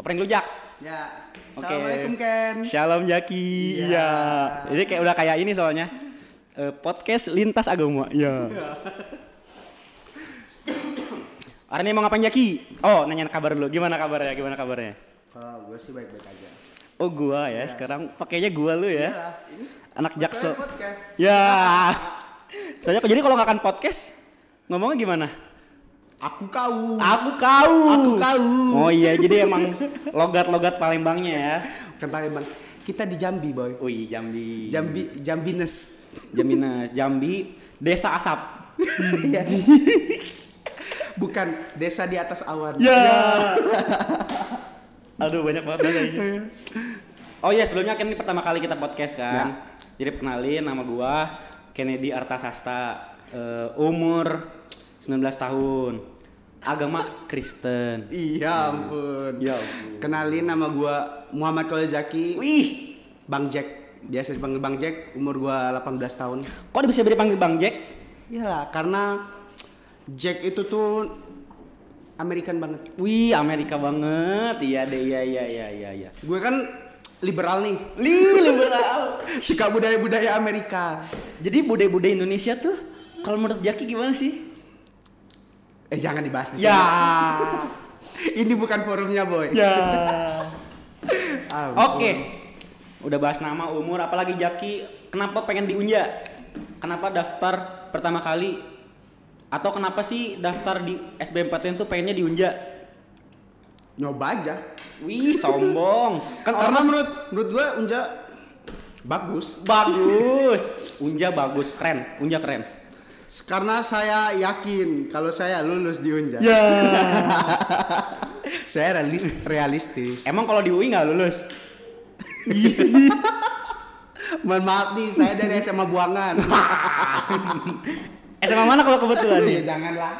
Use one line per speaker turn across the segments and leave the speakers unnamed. Prank lujak.
Ya.
Oke.
Assalamualaikum Ken.
Shalom Jaki.
Iya.
Iya. Jadi kayak udah kayak ini soalnya. Eh, podcast lintas agama. Iya. Hari ini mau ngapain Jaki? Oh, nanya kabar dulu. Gimana kabarnya? Gimana kabarnya?
Kalau gue sih baik-baik aja.
Oh, gua ya. Sekarang pakainya gua lu ya.
Iyalah, ini
Anak Jaksel.
masalahnya podcast.
Ya. Soalnya jadi kalau nggak akan podcast ngomongnya gimana?
Aku kau.
Aku kau.
Aku kau.
Oh iya, jadi emang logat-logat Palembangnya ya.
Bukan Palembang. Kan Kita di Jambi, boy.
Wih, Jambi.
Jambi Jambines.
Jaminas, Jambi, Desa Asap.
Iya. Bukan desa di atas awan.
Ya. Aduh, banyak banget bahasa ini. Oh iya, sebelumnya kan ini pertama kali kita podcast kan.
Ya.
Jadi kenalin nama gua Kennedy Artasasta. Eh, umur 19 tahun. Agama Kristen.
Iya ampun.
Ya ampun.
Kenalin nama gua Muhammad Khalil Zaki,
Wih,
Bang Jack. Biasa dipanggil Bang Jack, umur gua 18 tahun.
Kok bisa dipanggil Bang Jack?
Iyalah, karena Jack itu tuh American banget.
Wih, Amerika banget. Iya deh, iya iya iya iya iya.
Gue kan liberal nih,
Li liberal.
suka budaya-budaya Amerika.
Jadi budaya-budaya Indonesia tuh kalau menurut Jaki gimana sih?
Eh jangan dibahas di sini.
Ya.
Ini bukan forumnya, boy.
Ya.
Ah,
Oke. Udah bahas nama, umur, apalagi Jaki, kenapa pengen diunja? Kenapa daftar pertama kali? Atau kenapa sih daftar di SBMPTN tuh pengennya diunja?
Nyoba aja.
Wih, sombong. Kan
Karena
orang
menurut menurut gue Unja bagus.
bagus. Unja bagus, keren. Unja keren.
Karena saya yakin kalau saya lulus di Unja.
Ya.
Saya realis- realistis.
Emang kalau di UI nggak lulus?
Mohon maaf nih, saya dari SMA Buangan.
SMA mana kalau kebetulan
ya
nih?
janganlah.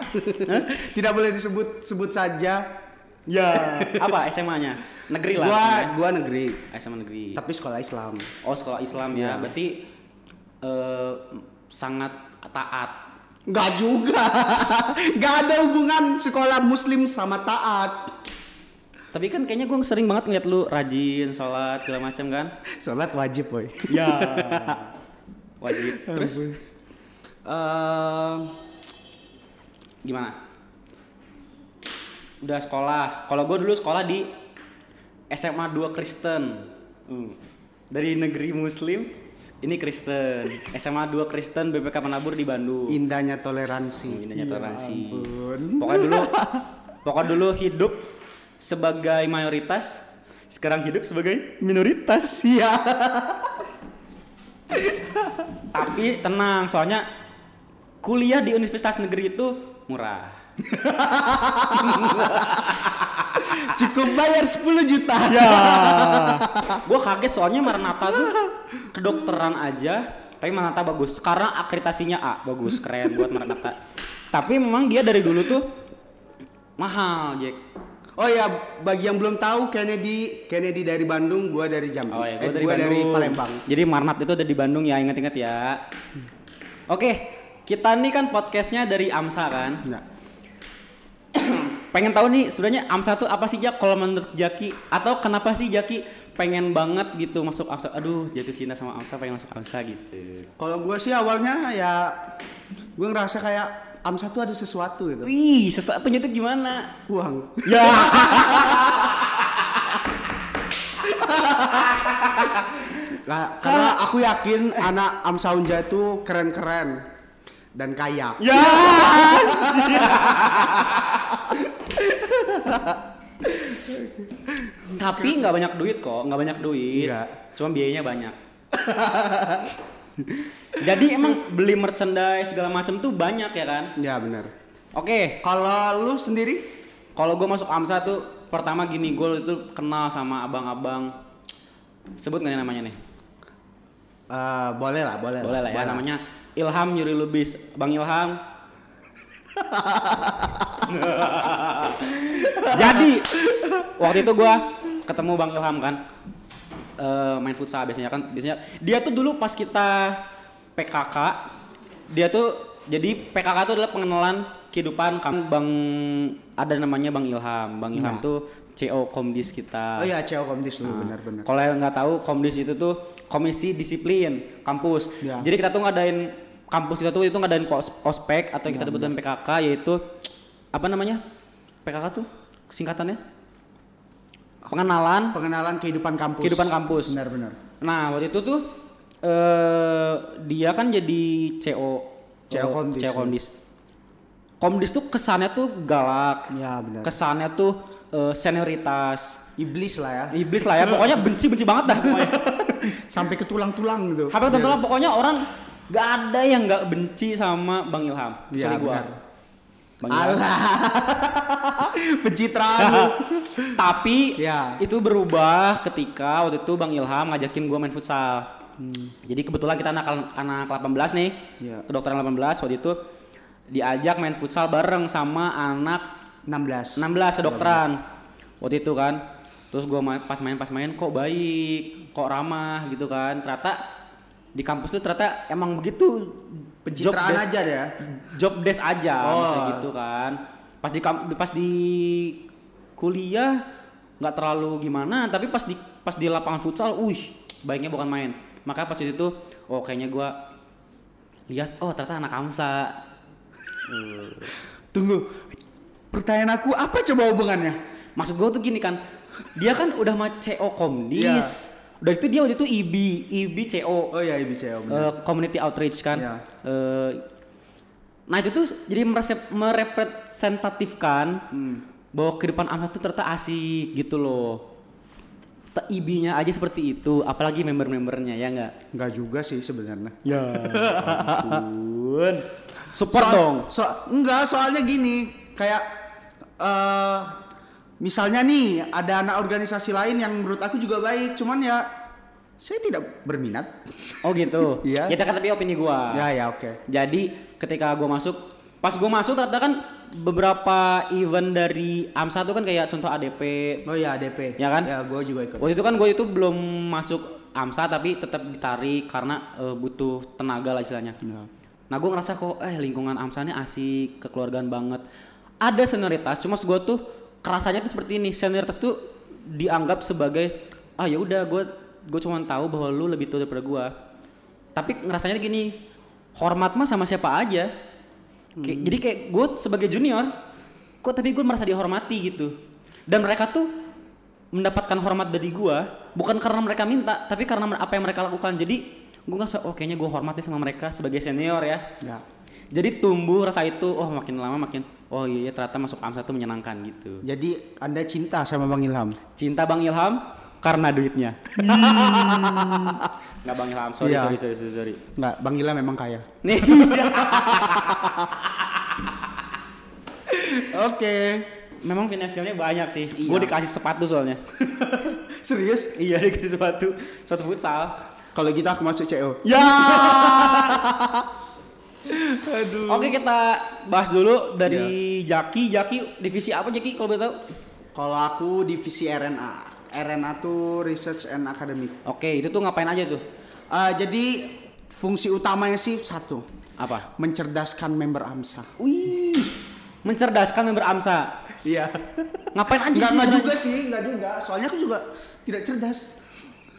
Tidak boleh disebut sebut saja.
Ya. Apa SMA-nya? Negeri lah.
Gua gua negeri,
SMA. SMA negeri.
tapi sekolah Islam.
Oh sekolah Islam ya.
Ya.
Berarti eh, sangat taat.
Enggak juga. Enggak ada hubungan sekolah muslim sama taat.
Tapi kan kayaknya gue sering banget ngeliat lu rajin sholat segala macam kan?
Salat wajib, boy.
Ya. Wajib. Terus ehm,
Ampun. Eh,
gimana? Udah sekolah. Kalau gue dulu sekolah di SMA 2 Kristen. Hmm. Dari negeri Muslim, ini Kristen. SMA 2 Kristen BPK Penabur di Bandung. Hmm,
indahnya toleransi.
Indahnya
Ya
toleransi.
ampun.
Pokoknya dulu, pokoknya dulu hidup sebagai mayoritas, sekarang hidup sebagai minoritas.
Iya.
Tapi tenang, soalnya kuliah di universitas negeri itu murah.
Cukup bayar 10 juta.
Ya. Gue kaget soalnya Maranatha tuh kedokteran aja, tapi Maranatha bagus. Karena akreditasinya A, bagus, keren buat Maranatha. Tapi memang dia dari dulu tuh mahal, Jack.
Oh ya, bagi yang belum tahu Kennedy, Kennedy dari Bandung, gua dari Jambi.
Oh ya, gue
Eh,
dari,
gua dari
Bandung.
Palembang.
Jadi Marnat itu ada di Bandung ya, inget-inget ya. Oke, kita nih kan podcastnya dari AMSA kan.
Nah,
Pengen tahu nih sebenarnya AMSA tuh apa sih Jak kalau menurut Jaki atau kenapa sih Jaki pengen banget gitu masuk AMSA? Aduh, jatuh cinta sama AMSA pengen masuk AMSA gitu.
kalau gua sih awalnya ya gua ngerasa kayak AMSA tuh ada sesuatu gitu.
Wih, sesuatunya tuh gimana?
Uang.
Ya.
Nah, karena aku yakin anak AMSA Unja itu keren-keren dan kaya.
Ya. Tapi nggak banyak duit kok, nggak banyak duit.
Nggak.
Cuma biayanya banyak. Jadi emang beli merchandise segala macam tuh banyak ya kan?
Ya benar.
Oke,
Kalau lu sendiri?
kalau gue masuk AMSA tuh pertama gini gue itu kenal sama abang-abang sebut nggak nih namanya nih?
Eh, boleh lah, boleh.
Boleh lah ya namanya Ilham Yuri Lubis. Bang Ilham. Jadi waktu itu gua ketemu Bang Ilham kan. eh, main futsal biasanya kan biasanya dia tuh dulu pas kita PKK dia tuh jadi PKK itu adalah pengenalan kehidupan kamu kan. Bang ada namanya Bang Ilham. Bang Ilham
Nah.
tuh CO Komdis kita.
Oh iya, CEO Komdis
Ah.
lu benar-benar.
Kalau yang nggak tahu Komdis itu tuh Komisi Disiplin Kampus.
Ya.
Jadi kita tuh ngadain kampus kita tuh itu ngadain kos- ospek atau yang kita sebut dengan PKK yaitu apa namanya? PKK tuh singkatannya pengenalan
Pengenalan kehidupan kampus.
Kehidupan kampus.
Benar-benar.
Nah waktu itu tuh eh dia kan jadi CO
CO Komdis.
CO Komdis. Komdis tuh kesannya tuh galak,
Ya benar.
kesannya tuh eh, senioritas,
Iblis lah ya.
iblis lah ya. Pokoknya benci-benci banget dah pokoknya.
Sampai ke tulang-tulang gitu.
Tapi tentu lah pokoknya orang gak ada yang gak benci sama Bang Ilham.
Iya,
Sorry gua.
benar.
Bang Ilham.
Alah. Pencitraan lu.
Tapi
Ya.
itu berubah ketika waktu itu Bang Ilham ngajakin gua main futsal. Jadi kebetulan kita anak anak 18 nih.
Hmm. Iya.
Kedokteran 18 waktu itu diajak main futsal bareng sama anak
16.
16 kedokteran. Waktu itu kan. Terus gua main, pas main pas main kok baik, kok ramah gitu kan. Ternyata di kampus tuh ternyata emang begitu job
Pencitraan
desk-
aja deh ya.
job desk aja
Oh.
maksudnya gitu kan pas di kam- pas di kuliah nggak terlalu gimana tapi pas di pas di lapangan futsal wih baiknya bukan main maka pas itu tuh oh kayaknya gua lihat oh ternyata anak Kamsa
Tunggu. Pertanyaan aku apa coba hubungannya?
maksud gua tuh gini kan dia kan udah sama CO Komdis
Iya.
udah itu dia waktu itu E IB IB CO
Oh iya Iblis CEO benar.
eh, community outreach kan.
Iya.
Eh, nah itu tuh jadi merese- merepresentatifkan
Hmm.
bahwa kehidupan amat tuh ternyata asik gitu loh. Te- IB-nya aja seperti itu, apalagi member-membernya ya nggak?
Enggak juga sih sebenarnya.
Ya. Ampun. Support
Soal-
dong.
so- enggak, soalnya gini, kayak eh misalnya nih ada anak organisasi lain yang menurut aku juga baik, cuman ya saya tidak berminat.
Oh gitu.
Iya.
Ya kan tapi opini gua.
Ya ya oke.
Jadi ketika gue masuk, pas gue masuk ternyata kan beberapa event dari AMSA tuh kan kayak contoh ADP,
Oh iya DP.
Ya kan?
Ya gue juga ikut.
Waktu itu kan gue itu belum masuk AMSA tapi tetap ditarik karena eh, butuh tenaga lah istilahnya.
Ya.
Nah gue ngerasa kok eh lingkungan AMSA ini asik, kekeluargaan banget. Ada senioritas, cuma gue tuh kerasanya tuh seperti ini. Senioritas tuh dianggap sebagai ah ya udah gue gue cuma tahu bahwa lu lebih tua daripada gue. Tapi ngerasanya gini, hormat mah sama siapa aja. Kayak- Jadi kayak gue sebagai junior, kok tapi gue merasa dihormati gitu. Dan mereka tuh mendapatkan hormat dari gua bukan karena mereka minta tapi karena mer- apa yang mereka lakukan jadi gua nggak oh kayaknya gua hormati sama mereka sebagai senior ya
Ya.
jadi tumbuh rasa itu oh makin lama makin oh iya ternyata masuk AMSA tuh menyenangkan gitu
Jadi Anda cinta sama Bang Ilham?
cinta Bang Ilham karena duitnya nggak Bang Ilham sorry
Iya.
sorry sorry sorry, sorry.
Enggak, Bang Ilham memang kaya.
nih
Oke.
memang finansialnya banyak sih gua
Iya.
dikasih sepatu soalnya
Serius?
iya dikasih sepatu sepatu futsal
Kalau kita aku masuk E CO.
ya
Aduh.
Oke kita bahas dulu dari Jaki. Jaki divisi apa Jaki kalau boleh tahu?
Kalau aku divisi RNA. RNA tuh Research and Academic.
Oke itu tuh ngapain aja tuh?
Eh, jadi fungsi utamanya sih satu,
Apa?
mencerdaskan member AMSA.
Wih, mencerdaskan member AMSA.
Iya.
Ngapain aja sih?
Enggak enggak
sebenarnya?
juga sih, enggak juga. Soalnya aku juga tidak cerdas.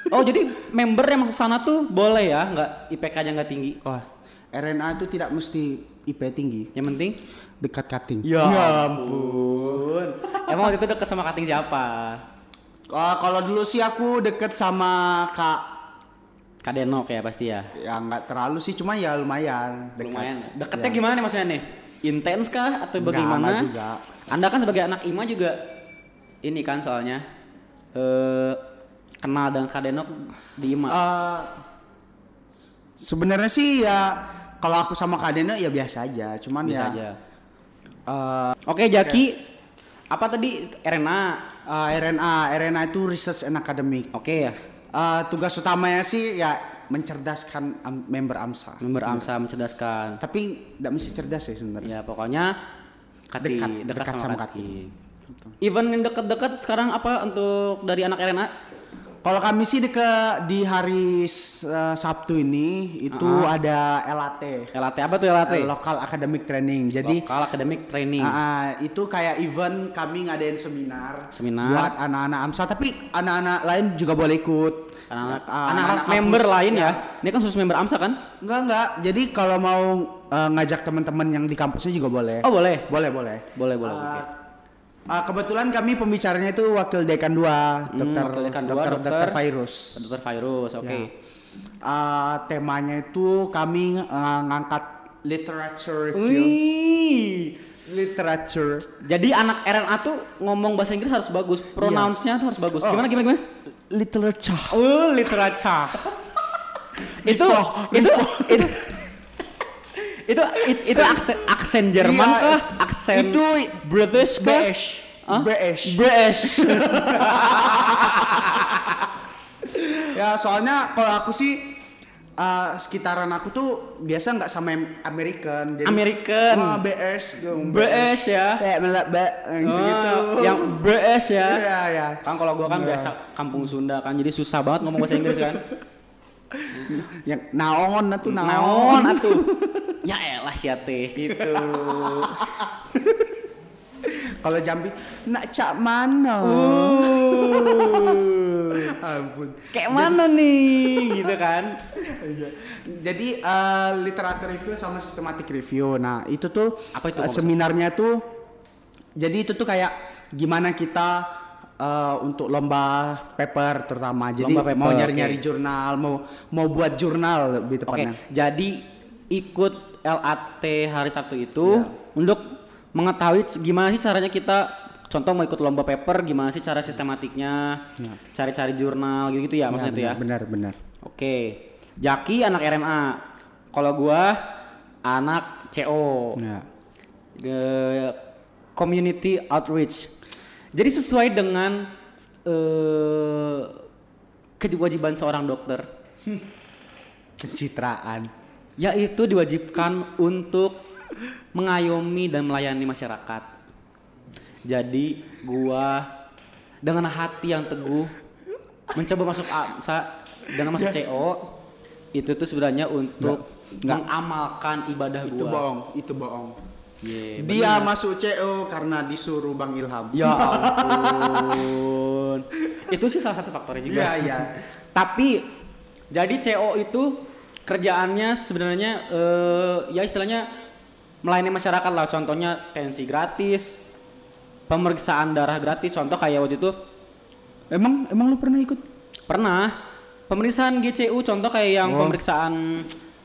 Oh jadi member yang masuk sana tuh boleh ya? Nggak IPK-nya nggak tinggi?
Wah, RNA itu tidak mesti IP tinggi,
Yang penting?
dekat cutting.
ampun. Emang waktu itu deket sama kating siapa?
Eh, kalau dulu sih aku deket sama Kak
Kak Denok ya pasti ya.
ya nggak terlalu sih cuma ya lumayan dekat. Ya. Iya.
Lumayan. ya? Deketnya gimana nih maksudnya nih? Intens kah atau
Nggak,
bagaimana?
nggak juga.
Anda kan sebagai anak IMA juga ini kan soalnya eh kenal dengan Kak Denok di IMA.
Eh, sebenarnya sih ya kalau aku sama Kak Deno ya biasa aja, cuman
Bisa
ya
aja.
eh,
Oke, Jaki. Apa tadi RNA?
eh, RNA RNA itu research and academic.
Oke ya.
Eh, tugas utamanya sih ya mencerdaskan am- member AMSA.
Member AMSA mencerdaskan.
Tapi nggak mesti cerdas sih sebenarnya.
Ya, pokoknya Kati,
Dekat,
dekat,
dekat sama
sama,
Kati.
Kati. Event yang dekat-dekat sekarang apa untuk dari anak RNA?
Kalau kami sih di ke- di hari s- eh, Sabtu ini itu
Ah.
ada LAT,
LAT apa tuh LAT?
eh, Local Academic Training. Jadi
Lokal Academic Training.
ah, ah, itu kayak event kami ngadain seminar,
Seminar.
buat anak-anak AMSA. Tapi anak-anak lain juga boleh ikut.
Anak-anak
Ah,
anak-anak
kampus.
member lain
Iya.
ya. Ini kan khusus member AMSA kan?
Enggak enggak. Jadi kalau mau eh, ngajak teman-teman yang di kampusnya juga boleh.
Oh, boleh.
Boleh boleh.
Boleh, boleh.
Ah,
oke.
ah, kebetulan kami pembicaranya itu wakil dekan 2, dokter
Hmm, Wakil Dekan dua,
dokter,
dokter-
dokter virus.
Dokter virus, oke.
Ya. Ah, temanya itu kami ah, ngangkat literature review.
Wih.
Literature.
Jadi anak RNA tuh ngomong bahasa Inggris harus bagus,
Iya.
pronounce-nya tuh harus bagus.
Oh.
Gimana gimana gimana?
Literature.
Oh, literature. itu,
Lipo,
itu, itu, itu, itu, itu aksen, aksen Jerman
Iya,
kah? Aksen
itu
British kah?
BS.
Hah?
BS.
British.
Ya soalnya kalau aku sih ah, sekitaran aku tuh biasa nggak sama yang American. Jadi,
American.
Wah, BS. dong,
BS ya.
Kayak melek bek gitu.
Oh, yang British ya.
ya ya.
Kan kalau gua kan biasa kampung Sunda kan, jadi susah banget ngomong bahasa Inggris kan.
Yang naon nah tuh naon.
Naon atuh. Ya elah ya teh gitu.
Kalau Jambi nak cak mana?
Uh.
Ampun.
Kayak mana nih gitu kan.
Jadi eh, literatur review sama sistematik review. Nah, itu tuh
Apa itu,
eh,
Pak Bos?
seminarnya tuh jadi itu tuh kayak gimana kita eh, untuk lomba paper terutama. Jadi
Lomba paper,
mau nyari-nyari
oke.
jurnal, mau mau buat jurnal
Oke,
lebih tepatnya.
jadi ikut LAT hari Sabtu itu untuk mengetahui c- gimana sih caranya kita contoh mau ikut lomba paper gimana sih cara sistematiknya, cari-cari jurnal gitu-gitu ya maksudnya itu ya.
Benar, benar.
Oke. Jaki anak RMA. Kalau gua anak CO.
Ya.
The community outreach. Jadi sesuai dengan eh kewajiban seorang dokter
Pencitraan.
yaitu diwajibkan untuk mengayomi dan melayani masyarakat. Jadi gua dengan hati yang teguh mencoba masuk AMSA dengan masuk
Ya.
CO itu tuh sebenarnya untuk mengamalkan ibadah gua.
Itu
Iya,
bohong, itu bohong.
Ye,
Dia masuk CO karena disuruh Bang Ilham.
Eh, Ya ampun. itu sih salah satu faktornya juga.
Iya, iya.
Tapi jadi CO itu kerjaannya sebenarnya eh, ya istilahnya melayani masyarakat lah. Contohnya tensi gratis, pemeriksaan darah gratis. Contoh kayak waktu itu
Emang emang lu pernah ikut?
pernah pemeriksaan GCU. Contoh kayak yang pemeriksaan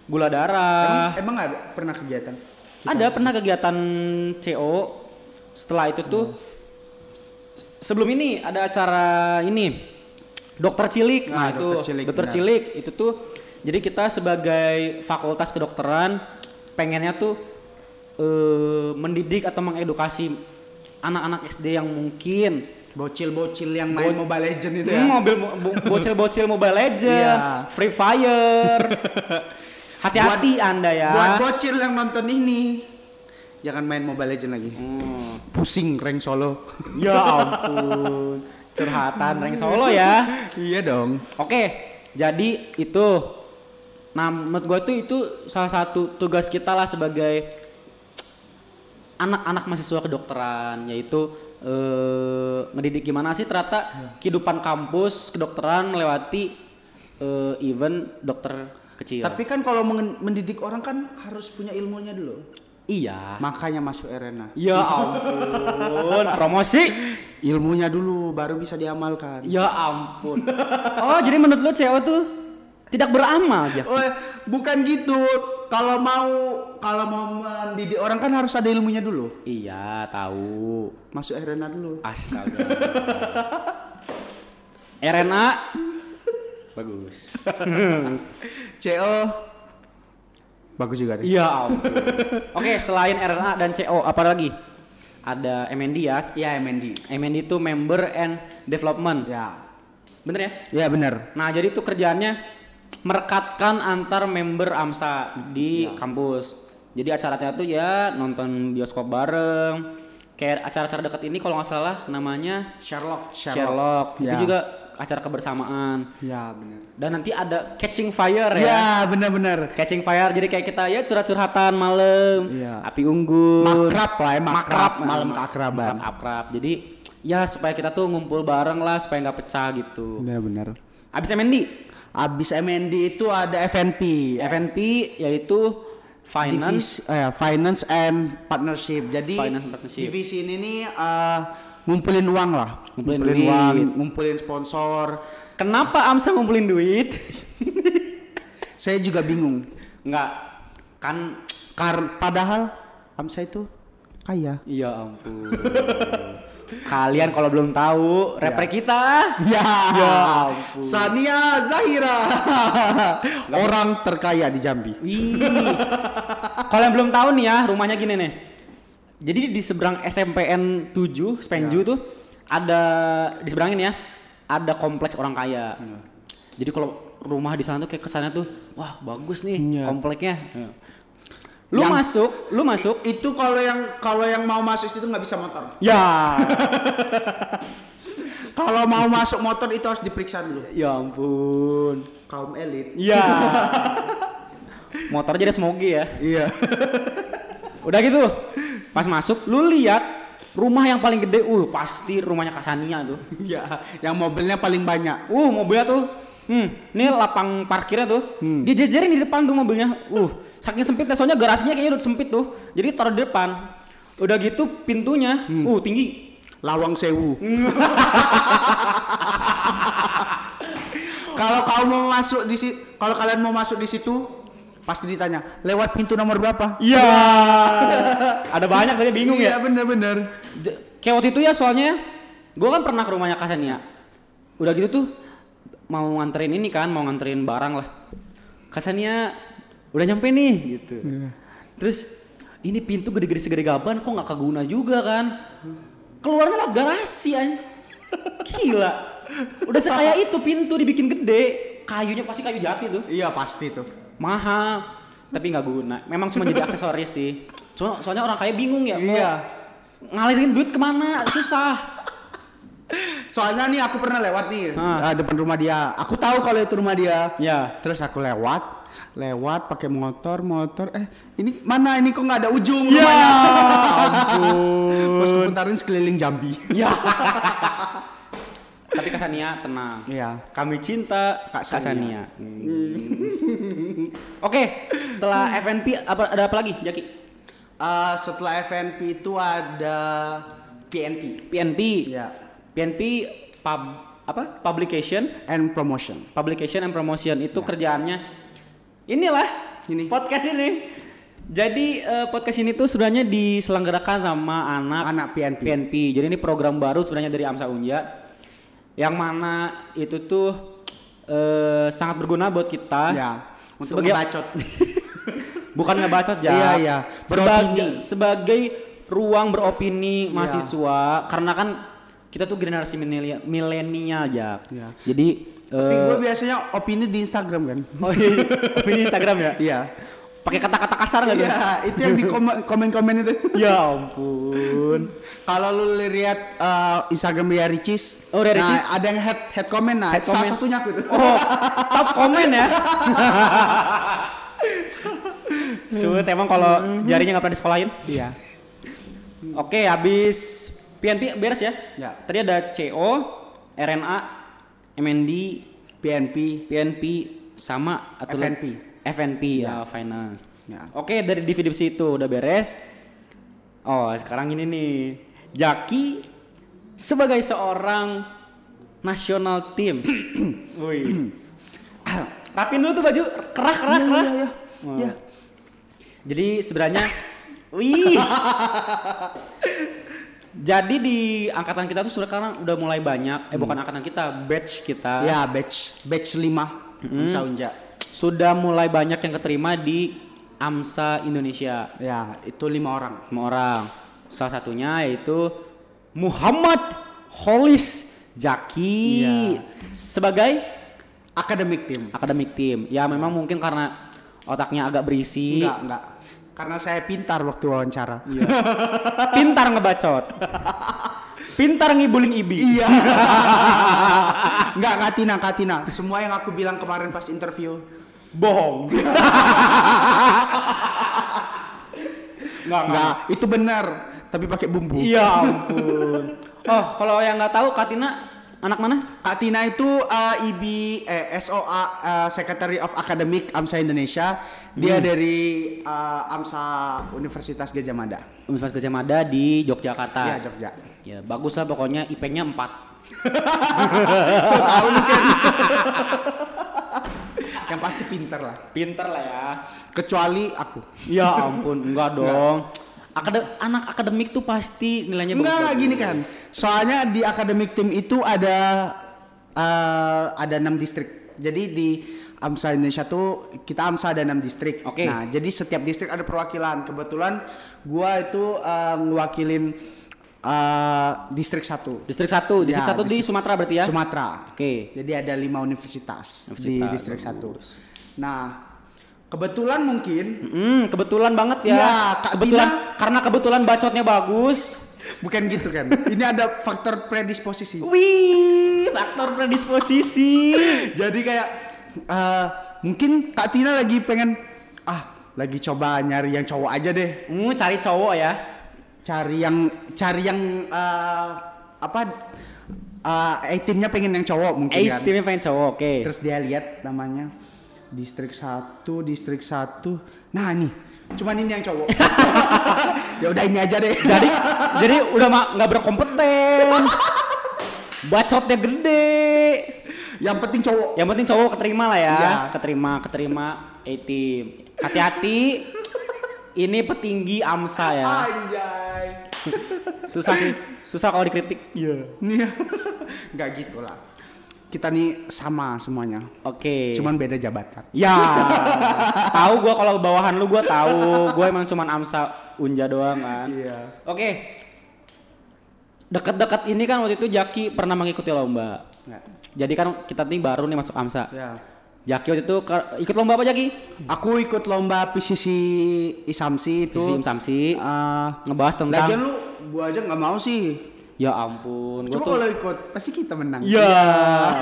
gula darah.
Oh. emang ada pernah kegiatan?
Ada pernah kegiatan CO. Setelah itu tuh sebelum ini ada acara ini dokter cilik. Nah,
Ah,
itu
dokter cilik,
dokter
benar.
cilik itu tuh jadi kita sebagai fakultas kedokteran pengennya tuh eh, mendidik atau mengedukasi anak-anak SD yang mungkin
Bocil-bocil yang main Mobile Legend itu ya.
Hmm, mobil mo- bo- bocil-bocil Mobile Legend,
Iya.
Free Fire. Hati-hati Anda ya.
Buat bocil yang nonton ini, jangan main Mobile Legend lagi.
Hmm.
Pusing rank solo.
Ya ampun, curhatan Reng Solo ya.
iya dong.
Oke, jadi itu. Nah, menurut gue tuh itu salah satu tugas kita lah sebagai anak-anak mahasiswa kedokteran, yaitu eh, mendidik gimana sih ternyata kehidupan kampus kedokteran melewati eh, event dokter kecil.
Tapi kan kalau mengen- mendidik orang kan harus punya ilmunya dulu.
iya.
Makanya masuk arena.
Ya ampun, promosi.
Ilmunya dulu baru bisa diamalkan.
Ya ampun. Oh, jadi menurut lo CEO tuh tidak beramal ya?
Oh, bukan gitu. Kalau mau kalau mau mendidik orang kan harus ada ilmunya dulu.
Iya, tahu.
Masuk arena dulu.
Astaga. RNA bagus.
CO bagus juga deh.
Iya ampun. Oke, selain RNA dan CO, apa lagi? Ada MND ya.
Iya, MND.
MND itu member and development.
Ya.
Bener ya?
Ya benar.
Nah, jadi itu kerjaannya merekatkan antar member AMSA di kampus. Jadi acaranya tuh ya nonton bioskop bareng. Kayak acara-acara dekat ini kalau nggak salah namanya
Sherlock,
Sherlock. Itu
Ya.
juga acara kebersamaan
Ya benar.
dan nanti ada catching fire ya
Ya benar-benar.
catching fire jadi kayak kita ya curhat-curhatan malam
Iya.
api unggun
Makrab lah ya, makrab, malam
ma-
keakraban.
makrab akrab jadi ya supaya kita tuh ngumpul bareng lah supaya nggak pecah gitu ya,
Benar-benar.
abis MND
Abis MND itu ada FNP.
FNP yaitu finance
Divisi- eh, finance and partnership. Jadi
Finance and partnership.
divisi ini nih eh, ngumpulin uang lah,
Ngumpulin duit.
uang, ngumpulin sponsor.
kenapa Amsa ngumpulin duit
Saya juga bingung.
nggak kan
Karena padahal Hamsa itu kaya.
ya ampun kalian kalau belum
Iya.
tahu rapper kita
Ya,
Ya ampun.
Sania Zahira, orang terkaya di Jambi.
Wih. Kalau yang belum tahu nih ya, rumahnya gini nih. Jadi di seberang SMPN 7, Spenju tuh ada di seberangin ya, ada kompleks orang kaya. Jadi kalau rumah di sana tuh kayak kesannya tuh, wah bagus nih
Iya.
kompleknya. Lu
Yang-
masuk, lu masuk.
Itu kalau yang kalau yang mau masuk itu nggak bisa motor.
Ya,
Kalau mau masuk motor itu harus diperiksa dulu.
ya ampun.
Kaum elit.
Ya. Motor jadi smogi ya.
Iya.
Udah gitu, pas masuk lu lihat rumah yang paling gede, uh pasti rumahnya Kasania tuh.
Iya. Yang mobilnya paling banyak.
Uh mobilnya tuh, hmm, ini lapang parkirnya tuh, dia jejerin di depan tuh mobilnya. Uh saking sempitnya, soalnya garasinya kayaknya udah sempit tuh, jadi taruh di depan. Udah gitu pintunya, uh tinggi.
Lawang Sewu. kalau kau mau masuk di situ, kalau kalian mau masuk di situ, pasti ditanya lewat pintu nomor berapa?
Iya. Ada banyak saya bingung ya.
Iya bener-bener.
D- kayak waktu itu ya soalnya gue kan pernah ke rumahnya Kasania udah gitu tuh mau nganterin ini kan mau nganterin barang lah Kasania udah nyampe nih gitu terus ini pintu gede-gede segede gaban kok nggak keguna juga kan keluarnya lah garasi anj- gila udah sekaya itu pintu dibikin gede kayunya pasti kayu jati tuh
Iya pasti tuh.
mahal tapi nggak guna memang cuma jadi aksesoris sih Cuma- soalnya orang kaya bingung ya mau
Iya.
ngalirin duit kemana susah
Soalnya nih aku pernah lewat nih
Ah.
eh, depan rumah dia. Aku tahu kalau itu rumah dia.
ya
Terus aku lewat, lewat pakai motor, motor. Eh, ini mana ini kok nggak ada ujung
ya
rumahnya?
ampun
Terus kuputarin sekeliling Jambi.
ya tapi Kasania tenang
Iya.
kami cinta
Kak
Kak Kasania
Sania.
Hmm. oke setelah FNP apa ada apa lagi Jaki
Eh, setelah FNP itu ada PNP
PNP
Iya.
PNP pub apa publication
and promotion.
publication and promotion itu kerjaannya inilah
Ya. Ini.
podcast ini jadi eh, podcast ini tuh sebenarnya diselenggarakan sama anak
Anak PNP.
PNP jadi ini program baru sebenarnya dari Amsa Unja yang mana itu tuh eh, sangat berguna buat kita
Ya, untuk
sebagai
ngebacot.
bukan ngebacot ya
Iya, iya.
sebagai
Beropini. Iya.
sebagai ruang beropini mahasiswa karena kan kita tuh generasi milenial- milenial ya
Iya.
jadi
Tapi
eh,
gue biasanya opini di Instagram kan.
Oh iya, ini Instagram ya?
Iya.
Pakai kata-kata kasar nggak tuh?
Iya, itu yang di komen- komen-komen itu.
Ya ampun.
Kalau lu lihat eh, Instagram Ria Ricis,
Oh, Ria Ricis.
Nah, ada yang head head comment nah.
Head
salah
comment.
satunya aku itu.
Oh, top komen ya. Sulit emang kalau jarinya nggak pernah disekolahin.
Iya.
Oke, habis PNP beres ya?
Ya.
Tadi ada CO, RNA, MND,
PNP.
PNP, sama atau
FNP.
FNP
Ya.
ya, finance.
Ya.
Oke, dari divisi itu udah beres. Oh, sekarang ini nih. Jaki sebagai seorang nasional tim. Woi. Rapin dulu tuh baju, kerah kerah
Iya,
kerah.
iya, iya.
Hmm.
Iya.
Jadi sebenarnya wih. Jadi di angkatan kita tuh sekarang udah mulai banyak, eh
Hmm.
bukan angkatan kita, batch kita.
Ya, batch batch 5.
Hmm.
Unca Unja.
Sudah mulai banyak yang keterima di AMSA Indonesia.
Ya, itu lima orang.
sama orang. Salah satunya yaitu Muhammad Holis Jaki
Iya.
sebagai
Academic team.
akademik tim. Ya memang mungkin karena otaknya agak berisi,
Enggak, enggak.
Iya.
Karena saya pintar waktu wawancara.
pintar ngebacot. Pintar ngibulin Ibi.
Iya. Enggak Katina, Katina. Semua yang aku bilang kemarin pas interview bohong.
Nggak, nggak.
Enggak, itu benar, tapi pakai bumbu.
Iya ampun. Oh, kalau yang nggak tahu Katina anak mana?
Katina itu uh, IB eh, SOA uh, Secretary of Academic AMSA Indonesia. Dia dari uh, AMSA Universitas Gajah Mada.
Universitas Gajah Mada di Yogyakarta.
Iya, Jogja.
Ya, bagus lah pokoknya IP-nya 4.
so tahu lu kan. yang pasti pinter lah.
Pinter lah ya.
Kecuali aku.
Ya ampun, enggak dong. Akade- anak akademik tuh pasti nilainya
Enggak,
bagus.
enggak gini kan. Soalnya di academic team itu ada eh, ada enam distrik. Jadi di AMSA Indonesia tuh kita AMSA ada enam distrik.
Oke.
Nah, jadi setiap distrik ada perwakilan. Kebetulan gua itu eh, ngewakilin eh, distrik satu
Distrik 1, distrik
Ya,
1 di
distrik-
Sumatera berarti ya?
Sumatera.
Oke.
Jadi ada lima universitas, di
Universitas,
distrik satu. Nah, kebetulan mungkin
Hmm, kebetulan banget ya.
Iya, Kak
kebetulan
Tina-
karena kebetulan bacotnya bagus.
bukan gitu kan. Ini ada faktor predisposisi.
Wih, faktor predisposisi.
Jadi kayak eh, mungkin Kak Tina lagi pengen ah lagi coba nyari yang cowok aja deh.
Hmm, cari cowok ya.
Cari yang cari yang eh, apa eh timnya pengen yang cowok mungkin
Eh,
kan.
timnya pengen cowok, oke.
Terus dia lihat namanya distrik 1, distrik 1. Nah, ini. Cuman ini yang cowok. ya udah ini aja deh.
Jadi jadi udah mah nggak berkompeten. Bacotnya gede.
yang penting cowok.
Yang penting cowok keterima lah ya.
Iya.
Keterima, keterima A-team. Hati-hati. Ini petinggi AMSA ya.
Anjay.
Susah sih. Susah kalau dikritik.
Iya. Nih. Enggak gitu lah. Kita nih sama semuanya.
Oke.
Cuman beda jabatan.
Ya, tahu gua kalau bawahan lu gua tahu. Gua emang cuman Amsa Unja doang kan.
Iya.
Oke. Dekat-dekat ini kan waktu itu Jaki pernah mengikuti lomba.
Enggak.
Jadi kan kita nih baru nih masuk Amsa.
Ya.
Jaki waktu itu ke- ikut lomba apa Jaki?
Aku ikut lomba PCC Isamsi itu.
Sim Samsi
Eh,
ngebahas tentang
lagian lu gua aja nggak mau sih.
ya ampun, gua
Cuma Iya.
tuh
kalau ikut pasti kita menang.
ya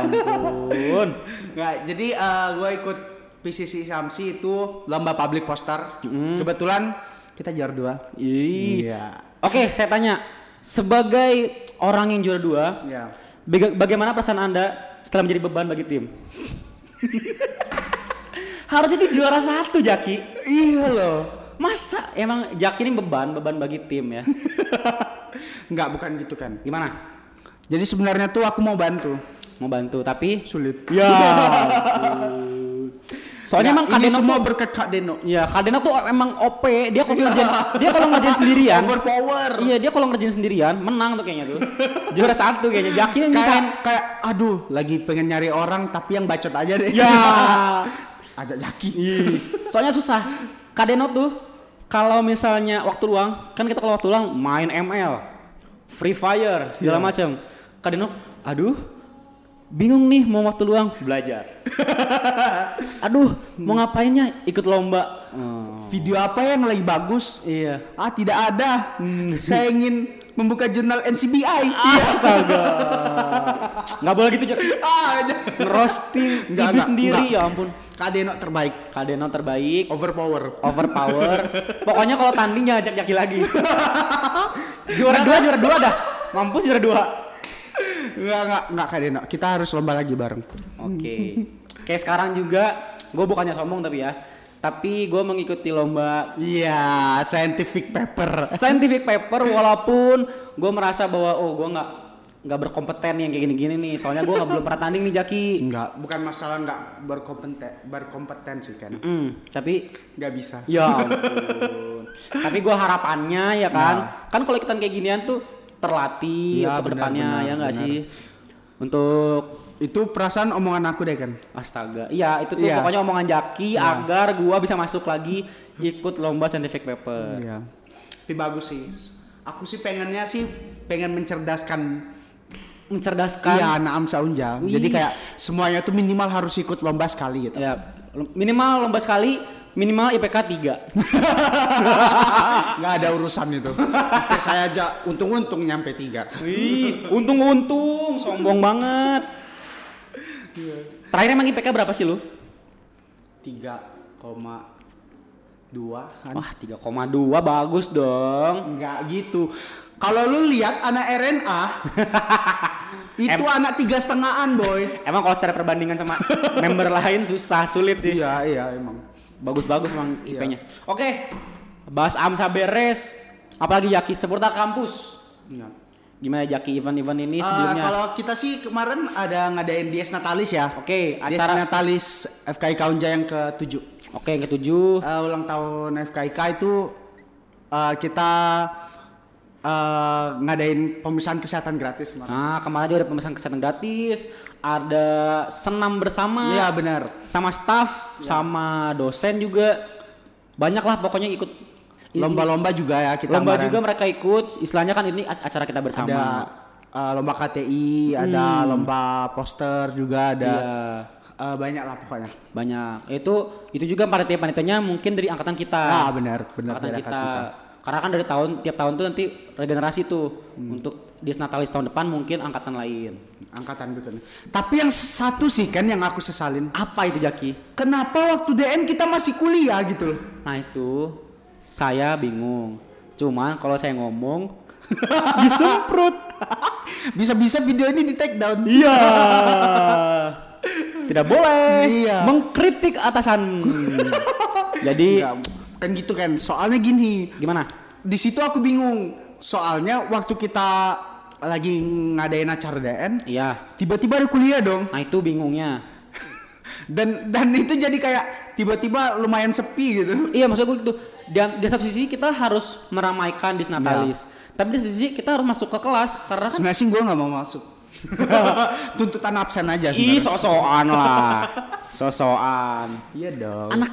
ampun.
Nggak, jadi gue ikut PCC Samsi itu lomba public poster. Kebetulan kita juara dua.
Ih.
Iya.
Oke, saya tanya sebagai orang yang juara dua,
Iya.
Baga- Bagaimana perasaan Anda setelah menjadi beban bagi tim? Harusnya itu juara satu, Jaki.
Iya loh.
Masa emang Jaki ini beban, beban bagi tim ya?
Nggak, bukan gitu kan.
Gimana?
Jadi sebenarnya tuh aku mau bantu.
Mau bantu, tapi
Sulit.
ya. ampun. Soalnya
Nggak,
emang
ini
Kadeno
semua
tuh,
berkat Kak Deno.
ya Kadeno tuh emang OP. Dia kalau ngerjain, dia kalau ngerjain sendirian,
Overpower.
iya dia kalau ngerjain sendirian menang tuh kayaknya tuh. Juara satu kayaknya. Jaki ini
Kayak,
bisa.
kayak, aduh, lagi pengen nyari orang tapi yang bacot aja deh.
Ya.
Ajak Jaki.
Iya. Soalnya susah. Kadeno tuh kalau misalnya waktu luang, kan kita kalau waktu luang main ML, Free Fire, segala macam. Kadeno, aduh, bingung nih mau waktu luang belajar. aduh, mau ngapainnya? Ikut lomba.
Video apa yang lagi bagus?
Iya.
Ah, tidak ada. Hmm, Saya ingin membuka jurnal NCBI.
Ah. Astaga. Nggak boleh gitu, Jok.
Ah, aja.
Ngerosting
Nggak,
ibu
nggak,
sendiri
nggak.
ya ampun.
Kak Deno terbaik.
Kadeno terbaik.
Overpower.
overpower. Pokoknya kalau tanding jangan ajak Jaki lagi. juara dua, juara dua dah. Mampus juara dua.
Enggak, enggak, enggak Kak Deno. Kita harus lomba lagi bareng.
Oke. Kayak sekarang juga, gue bukannya sombong tapi ya. Tapi gue mengikuti lomba
Iya, scientific paper.
scientific paper walaupun gue merasa bahwa oh gue nggak nggak berkompeten yang kayak gini-gini nih. Soalnya gue belum pernah tanding nih Jaki.
Enggak, bukan masalah enggak berkompeten berkompetensi kan.
Mm, tapi
Enggak bisa.
Ya ampun. Tapi gua harapannya ya kan, kan kalau ikutan kayak ginian tuh terlatih
Iya,
untuk
benar,
depannya
benar,
ya nggak
benar.
sih? Untuk
Itu perasaan omongan aku deh kan.
astaga, iya itu tuh
Iya.
pokoknya omongan Jaki agar gua bisa masuk lagi ikut lomba scientific paper.
Iya. Tapi bagus sih. Aku sih pengennya sih pengen mencerdaskan
Mencerdaskan.
iya anak Amsa Unja.
Kan? Wih.
Jadi kayak semuanya tuh minimal harus ikut lomba sekali gitu.
Ya, minimal lomba sekali minimal IPK 3
nggak ada urusan itu Sampai saya aja untung-untung nyampe tiga
wih untung-untung sombong banget
Iya.
terakhir emang IPK berapa sih lu
tiga koma dua
wah 3,2 bagus dong
nggak gitu kalau lu lihat anak RNA itu anak tiga setengahan boy
emang kalau secara perbandingan sama member lain susah sulit sih
iya iya emang
bagus-bagus emang IP-nya oke bahas AMSA beres apalagi Jaki seputar kampus
Iya.
gimana Jaki event-event ini
Eh,
sebelumnya
kalau kita sih kemarin ada ngadain Dies Natalis ya.
Oke,
Dies
acara-
Natalis FKIK Unja yang ke-7.
oke yang ketujuh
Eh, ulang tahun FKIK itu eh, kita eh, ngadain pemeriksaan kesehatan gratis kemarin.
Nah, kemarin dia ada pemeriksaan kesehatan gratis, ada senam bersama
Iya benar.
sama staff, sama dosen juga. Banyak lah pokoknya ikut i-
Lomba-lomba juga ya kita
lomba
kemarin.
juga mereka ikut. Istilahnya kan ini ac- acara kita bersama.
ada eh, lomba KTI, ada lomba poster juga ada.
Hmm. Iya,
Eh, banyak lah pokoknya.
banyak. Itu itu juga panitia-panitianya mungkin dari angkatan kita.
Ah benar, benar
angkatan
dari
kita.
angkatan kita.
Karena kan dari tahun tiap tahun tuh nanti regenerasi tuh untuk disnatalis tahun depan mungkin angkatan lain.
Angkatan berikutnya. Tapi yang satu sih kan yang aku sesalin
Apa itu Jaki?
Kenapa waktu DN kita masih kuliah gitu loh?
Nah itu saya bingung. Cuman kalau saya ngomong disemprot.
Bisa-bisa video ini di take down.
Iya. Tidak boleh
Iya.
mengkritik atasan. Jadi
Enggak, kan gitu kan. Soalnya gini,
gimana?
di situ aku bingung. Soalnya waktu kita lagi ngadain acara DN,
Iya.
tiba-tiba ada kuliah dong.
Nah itu bingungnya.
Dan dan itu jadi kayak tiba-tiba lumayan sepi gitu.
Iya maksud gue gitu. Dan di satu sisi kita harus meramaikan disnatalis. Tapi di satu sisi kita harus masuk ke kelas karena Iya. kan
Sebenarnya sih gue nggak mau masuk. Tuntutan absen aja
ih
sebenarnya.
sosokan lah. Sosokan.
Iya dong.
anak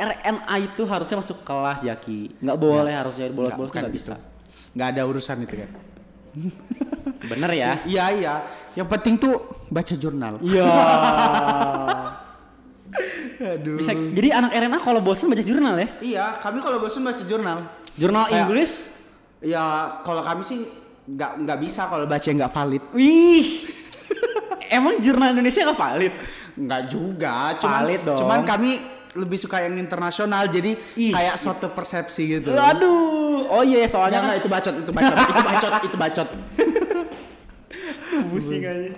RNA itu harusnya masuk kelas Jaki nggak boleh harusnya bolos-bolos
Nggak,
Iya. nggak
bukan
bisa
Kan Nggak ada urusan itu kan.
bener ya
Iya iya. Yang penting tuh baca jurnal.
iya
Aduh.
bisa jadi anak RNA kalau bosen baca jurnal ya
Iya, kami kalau bosan baca jurnal.
jurnal
Kayak-
Inggris
Ya, kalau kami sih nggak nggak bisa kalau baca nggak valid.
wih emang jurnal Indonesia nggak valid
Nggak juga, cuman
Valid dong.
cuman kami lebih suka yang internasional jadi
Ih.
kayak suatu persepsi gitu.
aduh oh iya
Nggak,
soalnya
nggak,
kan
itu bacot, itu bacot, itu bacot, itu bacot.
pusing aja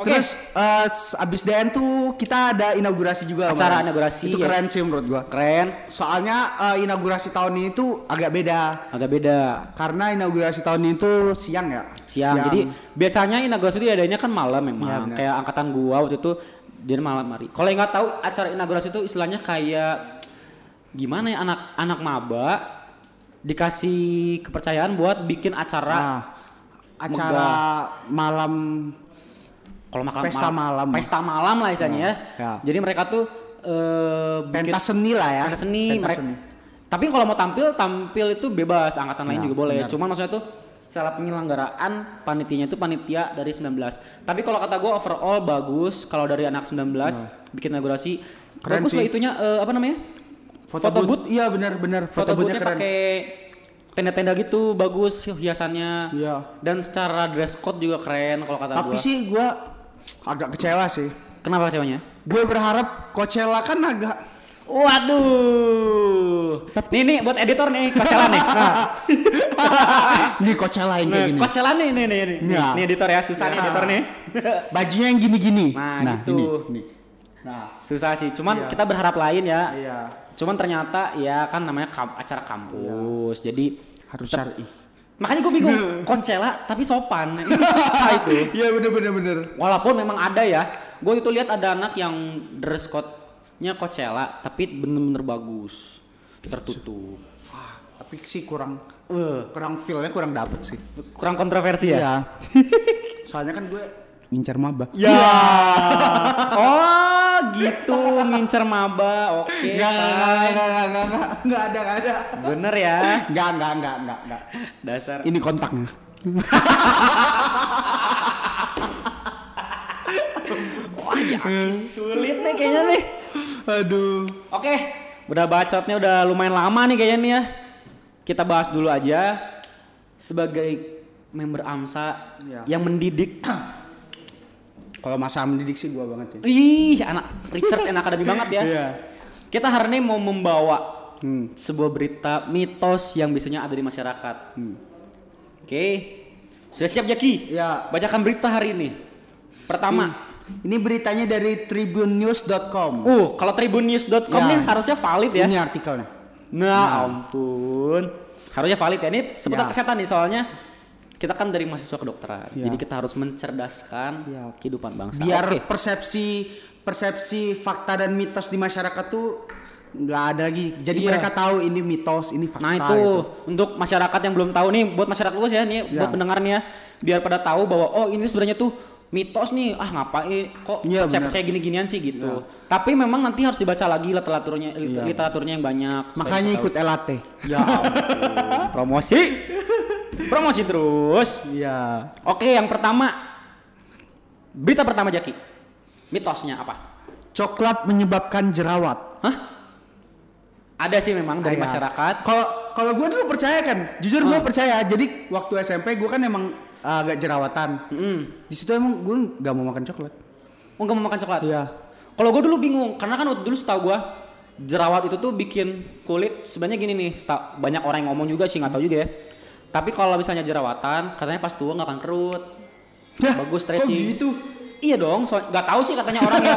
oke
Terus eh, s- abis DN tuh kita ada inaugurasi juga.
Acara
kemarin.
inaugurasi,
Itu
ya.
keren sih menurut gua.
keren
Soalnya eh, inaugurasi tahun ini tuh agak beda
agak beda
karena inaugurasi tahun ini tuh siang ya.
siang. Jadi biasanya inaugurasi itu adanya kan malam
Iya,
memang.
benar.
kayak angkatan gua waktu itu dia malam hari. Kalau yang nggak tahu acara inaugurasi itu istilahnya kayak gimana ya anak anak maba dikasih kepercayaan buat bikin acara
Nah, acara malam
kalau makan
pesta malam.
pesta malam lah istilahnya ya.
ya.
Jadi mereka tuh eh bikin
pentas seni lah ya.
pentas seni
Pentas
mereka.
seni.
Tapi kalau mau tampil tampil itu bebas angkatan lain
Nah,
juga boleh.
benar.
Cuman maksudnya tuh secara penyelenggaraan panitianya itu panitia dari 19. Tapi kalau kata gue overall bagus kalau dari anak 19 bikin inaugurasi
Keren
bagus
sih.
lah itunya eh, apa namanya?
Foto,
Foto
booth. Iya benar-benar foto,
Foto boothnya
boothnya keren.
pakai tenda-tenda gitu bagus hiasannya.
Iya.
Dan secara dress code juga keren kalau kata
Tapi
gue.
sih gua agak kecewa sih.
Kenapa ceweknya?
Gue berharap Coachella kan agak
Waduh. Nih nih buat editor nih, Coachella nih. Nah.
nih Coachella yang kayak
Nah,
gini.
Coachella nih nih nih nih.
Ya.
Nih editor ya, susah nih
Ya.
editor nih.
Bajunya yang gini-gini.
Nah, gitu.
ini, ini. Nah,
susah sih. Cuman
Iya.
kita berharap lain ya.
iya
Cuman ternyata ya kan namanya kam- acara
Iya.
kampus. Jadi
harus syar'i.
makanya gue bingung Coachella tapi sopan. Itu susah itu.
Iya benar-benar benar.
Walaupun memang ada ya. Gue itu lihat ada anak yang dress code-nya Coachella tapi bener-bener bagus. Tertutup.
Tapi sih kurang
Wah,
kurang feel-nya kurang dapet sih.
kurang kontroversi
Iya.
ya.
Soalnya kan gue Iya. ngincar maba.
Ya. oh, gitu ngincer maba. Oke.
Enggak, enggak, enggak, enggak, enggak, enggak Iya. ada, enggak ada.
Bener ya.
Enggak, enggak, enggak, enggak, enggak.
Dasar.
Ini kontaknya. Hmm.
Wah, ya, sulit nih kayaknya nih.
Aduh.
Oke, udah bacotnya udah lumayan lama nih kayaknya nih ya. Kita bahas dulu aja sebagai member AMSA
Iya.
yang mendidik.
Kalau masa mendidik sih gua banget sih.
Ih, anak research and academy banget ya.
Iya. Hmm,
Kita hari ini mau membawa sebuah berita mitos yang biasanya ada di masyarakat.
hmm.
Oke. Sudah siap Jaki?
Ya.
Bacakan berita hari ini. Pertama,
Ini beritanya dari tribunnews.com.
Uh, kalau tribunnews.com
Ya.
ini harusnya valid ya.
Ini artikelnya.
Nah, ampun. Harusnya valid ya. Ini seputar
Ya.
kesehatan nih soalnya. Kita kan dari mahasiswa kedokteran.
Ya.
Jadi kita harus mencerdaskan
Ya.
kehidupan bangsa.
Biar
Oke.
persepsi persepsi fakta dan mitos di masyarakat tuh nggak ada lagi. Jadi
Iya.
mereka tahu ini mitos, ini fakta.
Nah, itu
gitu.
untuk masyarakat yang belum tahu nih, buat masyarakat luas ya nih,
Ya.
buat pendengar nih ya, biar pada tahu bahwa oh ini sebenarnya tuh mitos nih. Ah, ngapain kok
Iya, Ya.
percaya-percaya gini-ginian sih gitu. Tapi memang nanti harus dibaca lagi literaturnya
Iya.
literaturnya yang banyak. supaya
Makanya
kita tahu.
ikut LAT.
Ya ampun. Promosi. Promosi terus.
Iya.
Oke, yang pertama. Berita pertama Jaki. Mitosnya apa?
Coklat menyebabkan jerawat.
Hah? Ada sih memang dari
Kayak-
masyarakat. Ah.
Kalau kalau gue dulu percaya kan, jujur gue percaya. Jadi waktu SMP gue kan emang agak jerawatan. Di situ emang gue nggak mau makan coklat.
Oh, nggak mau makan coklat.
Iya.
Kalau gue dulu bingung, karena kan waktu dulu setahu gue jerawat itu tuh bikin kulit sebenarnya gini nih, seta- banyak orang yang ngomong juga sih nggak tahu juga ya. Tapi kalau misalnya jerawatan, katanya pas tua nggak akan kerut.
Yah,
Bagus
kok
stretching.
gitu?
Iya dong, so, gak tahu sih katanya orang ya.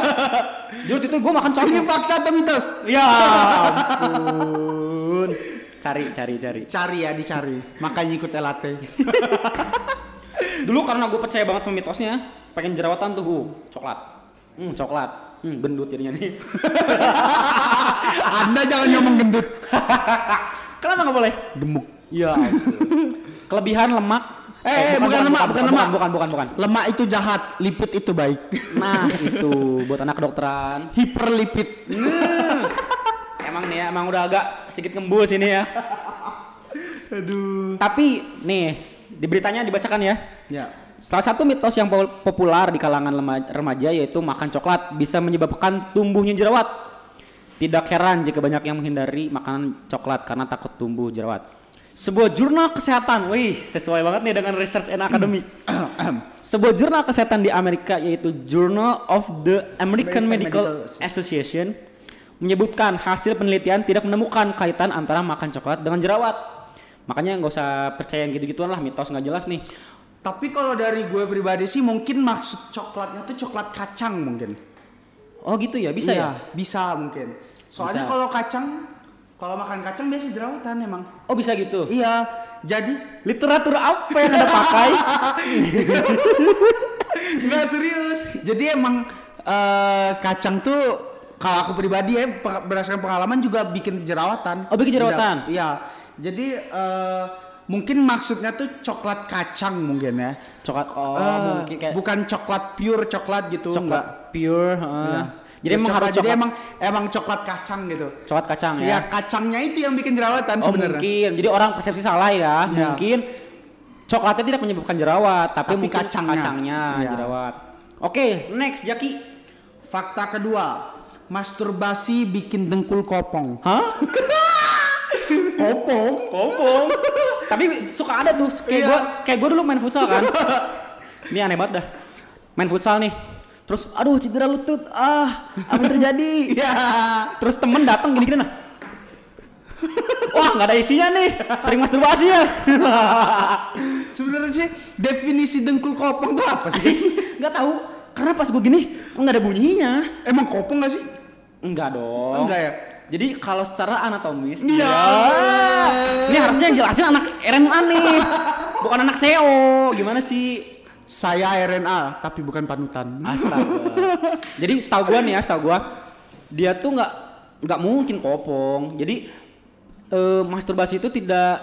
Jujur itu gue makan coklat.
Ini fakta atau mitos?
Ya ampun. Cari, cari, cari.
Cari ya dicari. Makanya ikut LAT.
Dulu karena gue percaya banget sama mitosnya, pengen jerawatan tuh, uh, coklat. Hmm, coklat. Hmm, gendut jadinya nih.
Anda jangan ngomong gendut.
Kenapa nggak boleh?
Gemuk.
Ya. ampun. Kelebihan lemak.
Eh, eh, bukan lemak, bukan lemak.
Bukan, bukan, bukan.
Lemak itu jahat, lipid itu baik.
Nah, itu buat anak kedokteran.
Hiperlipid.
Emang nih ya, emang udah agak sedikit ngembul sini ya.
Aduh.
Tapi nih, di beritanya dibacakan ya.
Ya.
Salah satu mitos yang pol- populer di kalangan lema- remaja yaitu makan coklat bisa menyebabkan tumbuhnya jerawat. Tidak heran jika banyak yang menghindari makanan coklat karena takut tumbuh jerawat. Sebuah jurnal kesehatan, wih sesuai banget nih dengan research and academy. Sebuah jurnal kesehatan di Amerika yaitu Journal of the American,
American
Medical,
Medical
Association menyebutkan hasil penelitian tidak menemukan kaitan antara makan coklat dengan jerawat. Makanya nggak usah percaya yang gitu-gituan lah mitos nggak jelas nih.
Tapi kalau dari gue pribadi sih mungkin maksud coklatnya tuh coklat kacang mungkin.
Oh gitu ya bisa ya.
Iya, Bisa mungkin. Soalnya
Bisa.
kalau kacang, kalau makan kacang biasa jerawatan emang.
Oh bisa gitu.
Iya, jadi
Literatur apa yang anda pakai?
nggak serius. Jadi emang eh, kacang tuh kalau aku pribadi ya pe- berdasarkan pengalaman juga bikin jerawatan.
Oh, bikin jerawatan.
Tidak- Iya. Jadi eh, mungkin maksudnya tuh coklat kacang mungkin ya.
Coklat. Oh
Eh,
mungkin kayak
bukan coklat pure coklat gitu
coklat
enggak.
pure. heeh.
Iya.
Jadi emang
coklat,
harus
jadi
coklat,
emang emang coklat kacang gitu.
coklat kacang ya.
Ya kacangnya itu yang bikin jerawatan
oh
sebenarnya.
mungkin. Jadi orang persepsi salah ya.
Iya.
Mungkin coklatnya tidak menyebabkan jerawat, tapi,
Tapi
mungkin
kacangnya.
kacangnya,
Iya.
jerawat. Oke, next Jaki.
Fakta kedua, masturbasi bikin dengkul kopong.
Hah?
Kopong?
Kopong. tapi suka ada tuh kayak
Iya.
gua kayak gua dulu main futsal kan. Ini aneh banget dah. Main futsal nih. Terus aduh cedera lutut. Ah, apa yang terjadi?
Iya.
Terus temen datang gini-gini nah. Wah nggak ada isinya nih, sering masturbasi ya.
Sebenarnya sih definisi dengkul kopong tuh apa sih?
Nggak tahu, karena pas gue gini nggak ada bunyinya.
Emang kopong gak sih?
Enggak dong.
Enggak ya?
Jadi kalau secara anatomis,
Iya.
Ini harusnya yang jelasin anak RNA nih, bukan anak CO. Gimana sih?
Saya RNA tapi bukan panutan.
Ah. Astaga. Jadi setahu gua nih ya, setahu gua dia tuh nggak nggak mungkin kopong. Jadi eh, masturbasi itu tidak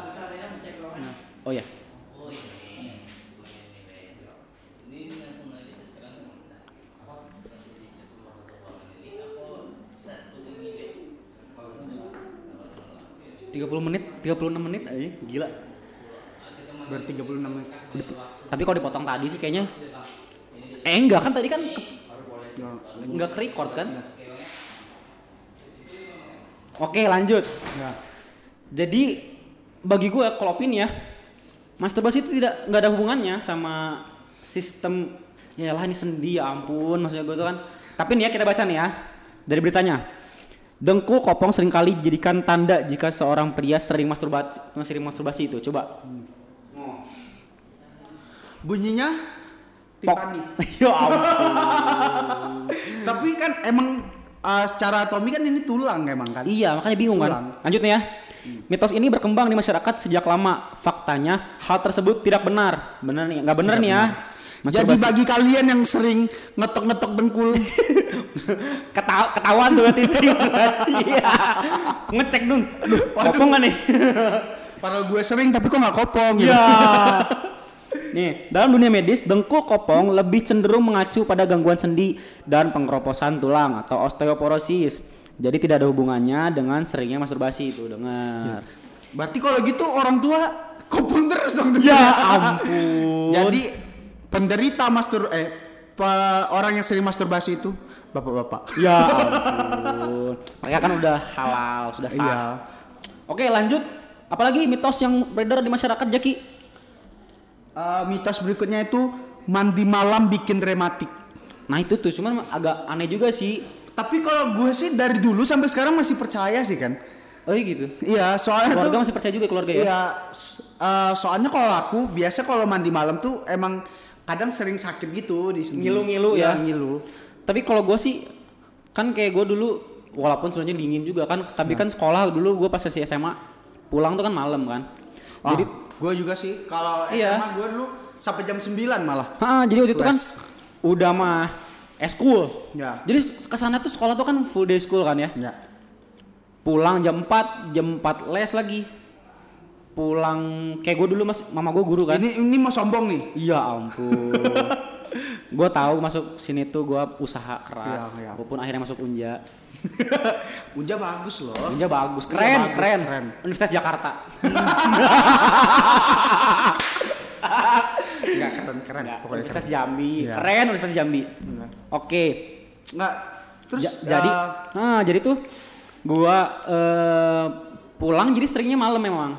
Oh ya. tiga puluh menit, 36 menit aja, gila.
Baru 36 menit.
Tapi kalau dipotong tadi sih kayaknya, eh enggak kan tadi kan ke-
Ya.
nggak ke record kan? Oke lanjut.
Ya.
Jadi bagi gue kalau opini ya, masturbasi itu tidak nggak ada hubungannya sama sistem ya lah ini sendi ya ampun maksudnya gue tuh kan. Tapi nih ya kita baca nih ya dari beritanya. Dengkul kopong seringkali dijadikan tanda jika seorang pria sering masturbasi, sering masturbasi itu. Coba.
Bunyinya
Pok. ya ampun.
Tapi kan emang uh, secara Tommy kan ini tulang emang kan.
Iya, makanya bingung kan.
Tulang.
Lanjut nih ya. Mitos ini berkembang di masyarakat sejak lama. Faktanya hal tersebut tidak benar. Benar nih, nggak benar nih ya.
Jadi
Masturbasi-
bagi kalian yang sering ngetok-ngetok dengkul,
Ketawa, ketahuan tuh berarti stimulasi. Iya. Ngecek dun. Duh, kopong nggak nih?
padahal gue sering tapi kok nggak kopong gitu.
Iya. Nih, dalam dunia medis, dengkul kopong lebih cenderung mengacu pada gangguan sendi dan pengeroposan tulang atau osteoporosis. Jadi tidak ada hubungannya dengan seringnya masturbasi itu. Dengar.
Berarti kalau gitu orang tua kopong terus dong. dengkul.
Ya ampun.
Jadi penderita mastur eh pe- orang yang sering masturbasi itu bapak-bapak.
Ya ampun. Mereka kan udah halal, sudah sah.
Iya.
Oke, lanjut. Apalagi mitos yang beredar di masyarakat, Jaki?
Eh, mitos berikutnya itu mandi malam bikin rematik.
Nah, itu tuh cuman agak aneh juga sih.
Tapi kalau gue sih dari dulu sampai sekarang masih percaya sih kan.
Oh, iya gitu.
Iya, soalnya tuh
Keluarga masih percaya juga keluarga ya?
Iya, s- eh, soalnya kalau aku biasa kalau mandi malam tuh emang kadang sering sakit gitu di sendi.
Ngilu-ngilu ya?
Iya, ngilu.
Tapi kalau gue sih kan kayak gue dulu walaupun sebenarnya dingin juga kan,
Iya.
tapi kan sekolah dulu gue pas sesi SMA pulang tuh kan malam kan.
Jadi
Jadi
gue juga sih kalau
Iya.
SMA gue dulu sampai jam 9 malah.
Ha, jadi waktu itu kan
Les.
udah mah eskul.
Ya.
Jadi kesana tuh sekolah tuh kan full day school kan ya.
Ya.
pulang jam 4 jam 4 les lagi pulang kayak gue dulu mas mama gue guru kan
Ini ini mau sombong nih.
iya ampun gue tahu masuk sini tuh gue usaha keras
Iya, iya.
walaupun akhirnya masuk Unja
Unja bagus loh.
Unja bagus
Unja
keren
Iya, bagus,
keren.
keren.
Universitas Jakarta
Enggak keren-keren
Enggak,
pokoknya.
Universitas
Keren.
Jambi
Iya.
keren Universitas Jambi oke
Enggak. Terus
Ja- jadi
eh,
ah jadi tuh gue eh, pulang jadi seringnya malam memang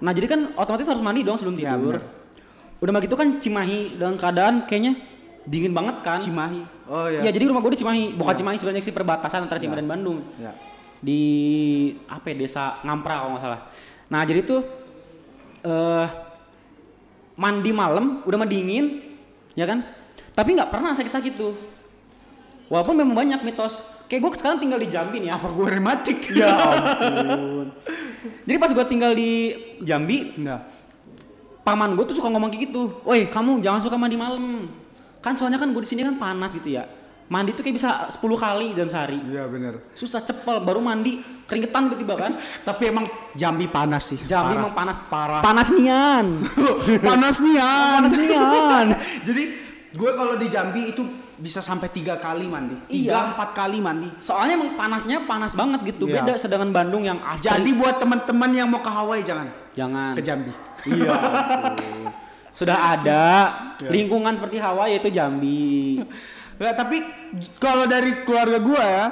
nah jadi kan otomatis harus mandi dong sebelum
Iya,
tidur
benar.
udah mah gitu kan Cimahi dalam keadaan kayaknya dingin banget kan
Cimahi. Oh iya.
Ya jadi rumah gue di Cimahi, bukan Cimahi sebenarnya sih perbatasan antara Cimahi dan Bandung.
Ya.
Di apa ya desa Ngampra kalau nggak salah. Nah jadi tuh eh mandi malam udah mah dingin, ya kan? Tapi nggak pernah sakit-sakit tuh. Walaupun memang banyak mitos. Kayak gue sekarang tinggal di Jambi nih ya.
Apa gue rematik?
Ya ampun. jadi pas gue tinggal di Jambi,
Enggak.
paman gue tuh suka ngomong kayak gitu, woi kamu jangan suka mandi malam, kan soalnya kan gue di sini kan panas gitu ya, mandi tuh kayak bisa 10 kali dalam sehari,
Iya benar.
susah cepel baru mandi keringetan tiba-tiba kan,
Tapi emang Jambi panas sih.
Jambi
Parah.
emang panas
Parah.
panas nian,
panas nih An.
panas nian,
Jadi gue kalau di Jambi itu bisa sampai tiga kali mandi, tiga
Iya.
empat kali mandi.
soalnya emang panasnya panas banget gitu,
Iya.
beda sedangkan Bandung yang asli,
Jadi buat teman-teman yang mau ke Hawaii jangan
jangan,
ke Jambi.
iya, ampun. sudah ada Iya. lingkungan seperti Hawaii yaitu Jambi,
Nggak, tapi j- kalau dari keluarga gue ya,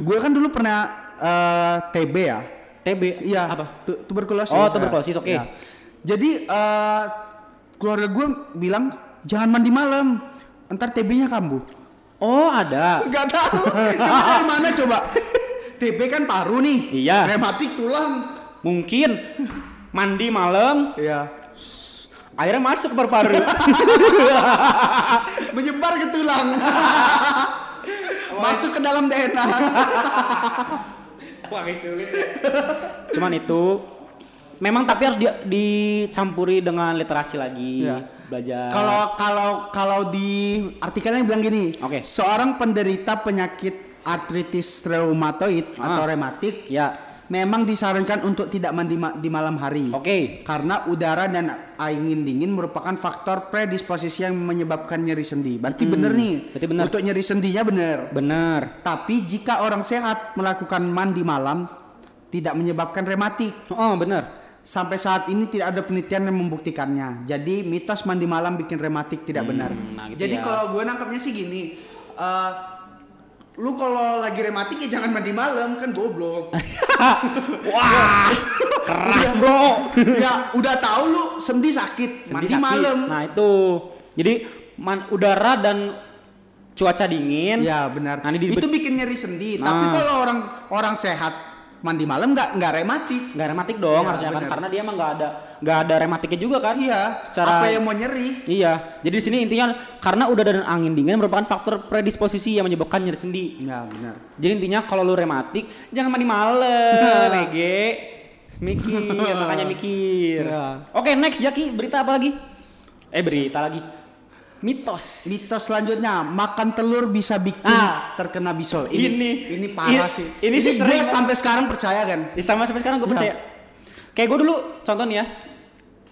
gue kan dulu pernah eh, TB ya.
TB,
Iya.
apa?
tu- Tuberkulosis.
Oh,
Ya.
tuberkulosis, oke.
Ya. Jadi eh, keluarga gue bilang jangan mandi malam, ntar TB-nya kambuh.
Oh ada,
Gak tahu. Coba dari mana coba? TB kan paru nih.
Iya.
Rematik tulang.
mungkin mandi malam
Iya.
akhirnya masuk ke paru-paru
Menyebar ke tulang. Masuk ke dalam DNA.
cuman itu memang tapi harus dia- dicampuri dengan literasi lagi
Iya.
belajar
Kalau kalau kalau di artikelnya bilang gini.
Oke.
Seorang penderita penyakit artritis reumatoid
Ah.
atau rematik
ya
memang disarankan untuk tidak mandi ma- di malam hari.
oke
Karena udara dan angin dingin merupakan faktor predisposisi yang menyebabkan nyeri sendi. Berarti bener nih.
Hmm. berarti bener.
Untuk nyeri sendinya bener.
bener
Tapi jika orang sehat melakukan mandi malam tidak menyebabkan rematik.
oh bener
Sampai saat ini tidak ada penelitian yang membuktikannya. Jadi mitos mandi malam bikin rematik tidak benar.
Hmm, nah gitu
Jadi
ya.
kalau gue nangkapnya sih gini, eh, lu kalau lagi rematik ya jangan mandi malam kan goblok
Wah, keras Iya, bro.
ya udah tahu lu sendi sakit
Sendi
mandi
sakit.
malam
Nah itu, jadi man- udara dan cuaca dingin.
ya benar
Nah, ini di-
itu bikin nyeri sendi
Nah.
tapi kalau orang orang sehat mandi malam nggak nggak rematik
Nggak rematik dong
Ya,
harusnya kan
benar.
karena dia emang nggak ada nggak ada rematiknya juga kan.
iya
Secara-
apa yang mau nyeri
Iya. Jadi di sini intinya karena udara dan angin dingin merupakan faktor predisposisi yang menyebabkan nyeri sendi.
ya benar
Jadi intinya kalau lu rematik jangan mandi malam,
Nah.
Ege. Mikir, makanya mikir.
Ya.
Oke, next Jaki, berita apa lagi? Eh, berita lagi. Mitos.
mitos selanjutnya makan telur bisa bikin
Ah.
terkena bisul
Ini-
ini
ini-
parah sih
ini sih sering-
gue sampai sekarang percaya kan
Ya, sama sampai sekarang gue percaya. Kayak gue dulu contoh nih ya.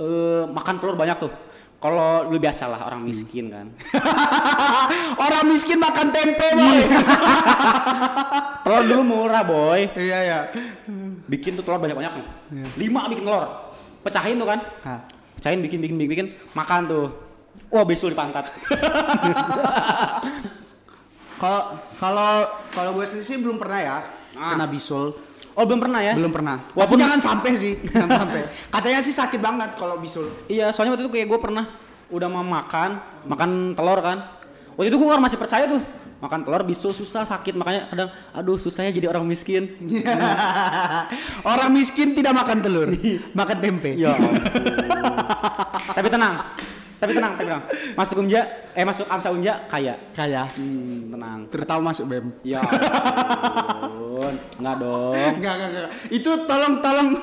eh, makan telur banyak tuh. Kalau lu biasalah orang miskin kan.
orang miskin makan tempe boy
Iya. telur dulu murah, boy.
iya ya
Bikin tuh telur banyak-banyak nih. Lima bikin telur. Pecahin tuh kan.
Nah,
pecahin bikin bikin bikin bikin makan tuh wah bisul di pantat
kalau kalau kalau gue sendiri sih belum pernah ya
Ah.
kena bisul
oh belum pernah ya
belum pernah
Walaupun-
walaupun jangan sampai sih jangan sampai katanya sih sakit banget kalau bisul
iya soalnya waktu itu kayak gue pernah udah mau makan makan telur kan waktu itu gue masih percaya tuh makan telur bisul susah sakit makanya kadang aduh susahnya jadi orang miskin
orang miskin tidak makan telur makan tempe
ya ampun. tapi tenang tapi tenang tapi tenang masuk unja eh masuk amsa unja kaya
kayak
hmm, tenang
terutama masuk E bem
ya ampun nggak dong
Enggak, enggak, enggak. Itu tolong, tolong.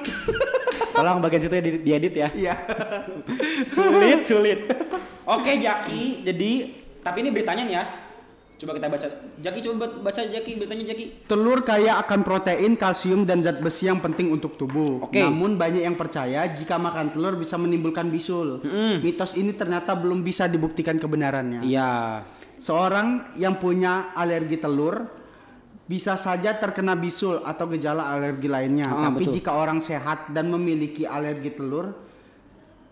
tolong bagian situ ya di- diedit ya
Iya.
sulit sulit oke Jaki jadi tapi ini beritanya nih ya coba kita baca Jaki coba baca Jaki beritanya Jaki
Telur kaya akan protein, kalsium, dan zat besi yang penting untuk tubuh.
Oke.
Namun banyak yang percaya jika makan telur bisa menimbulkan bisul. Mitos ini ternyata belum bisa dibuktikan kebenarannya.
iya
Seorang yang punya alergi telur bisa saja terkena bisul atau gejala alergi lainnya.
Ah,
Tapi
betul.
jika orang sehat dan memiliki alergi telur,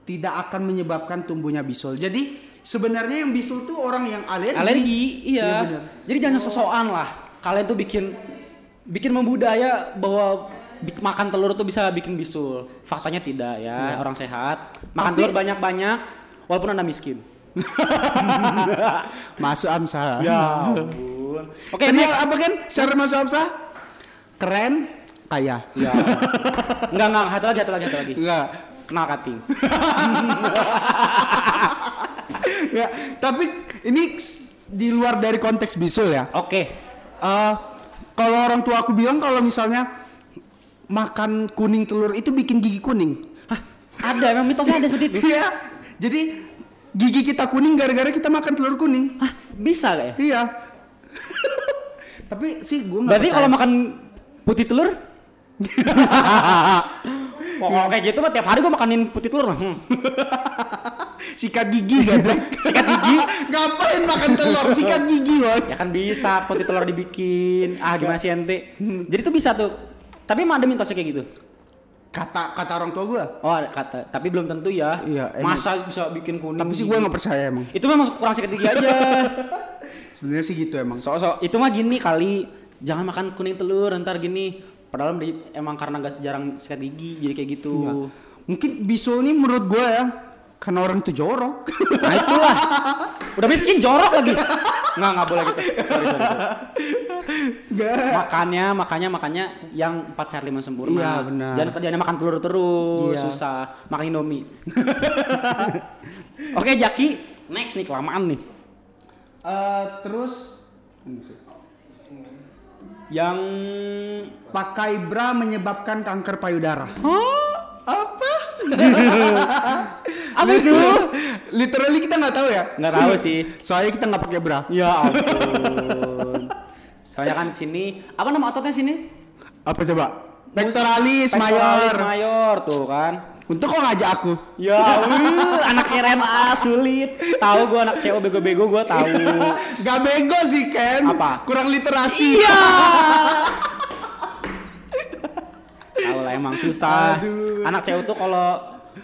tidak akan menyebabkan tumbuhnya bisul. Jadi sebenarnya yang bisul tuh orang yang alergi.
alergi iya,
Iya, benar.
jadi jangan sosokan lah kalian tuh bikin bikin membudaya bahwa bi- makan telur tuh bisa bikin bisul faktanya tidak ya orang sehat makan
Tapi-
telur banyak banyak walaupun anda miskin
Masuk Amsa.
ya ampun oke
Oke,
next
apa kan? Share masuk Amsa. Keren, kaya.
ya enggak enggak satu lagi satu lagi satu lagi
Enggak.
kenal kating
ya, tapi ini s- di luar dari konteks bisul ya.
oke
Eh, kalau orang tua aku bilang kalau misalnya makan kuning telur itu bikin gigi kuning.
Hah, ada emang mitosnya ada seperti itu
Iya. Jadi gigi kita kuning gara-gara kita makan telur kuning.
Hah, bisa gak ya?
Iya. tapi sih gue nggak
Berarti
percaya.
kalau makan putih telur? Pokoknya kayak gitu mah tiap hari gue makanin putih telur mah. Hmm.
sikat gigi gablek.
Sikat gigi?
Ngapain makan telur? Sikat gigi, Boy.
Ya kan bisa putih telur dibikin. Ah gimana sih ente? Jadi tuh bisa tuh. Tapi emang ada mitosnya kayak gitu.
kata kata orang tua gue
Oh ada kata, tapi belum tentu ya.
Iya, emang.
Masa bisa bikin kuning?
tapi sih
gigi?
gue nggak percaya emang
Itu memang kurang sikat gigi aja.
sebenarnya sih gitu emang
Sok-sok itu mah gini kali. Jangan makan kuning telur ntar gini. Padahal di- emang karena gak jarang sikat gigi jadi kayak gitu.
Iya. mungkin bisul nih menurut gue ya karena orang itu jorok
Nah itulah. Udah miskin jorok lagi. Nggak, nggak boleh gitu. Sorry, sorry, sorry.
Enggak.
Makanya, makanya, makanya yang 4 sehat 5 sempurna.
Eh. Iya, benar.
Jangan kerjanya makan telur terus,
Iya.
susah. Makan Indomie. Oke, Jaki, next nih kelamaan nih.
Eh, terus
Yang
pakai bra menyebabkan kanker payudara
Hah?
apa
Apa itu?
literally kita nggak tahu ya
Nggak tahu sih.
soalnya kita nggak pakai bra
Ya ampun. Soalnya kan sini, apa nama ototnya sini?
apa coba
Pectoralis
pectoralis mayor
mayor tuh kan.
untuk kok ngajak aku
Ya Allah, anak RMA sulit. Tahu gua anak CO bego-bego gua tahu.
Gak bego sih Ken
Apa?
kurang literasi iya
Tahu lah emang susah.
Aduh.
Anak CO tuh kalau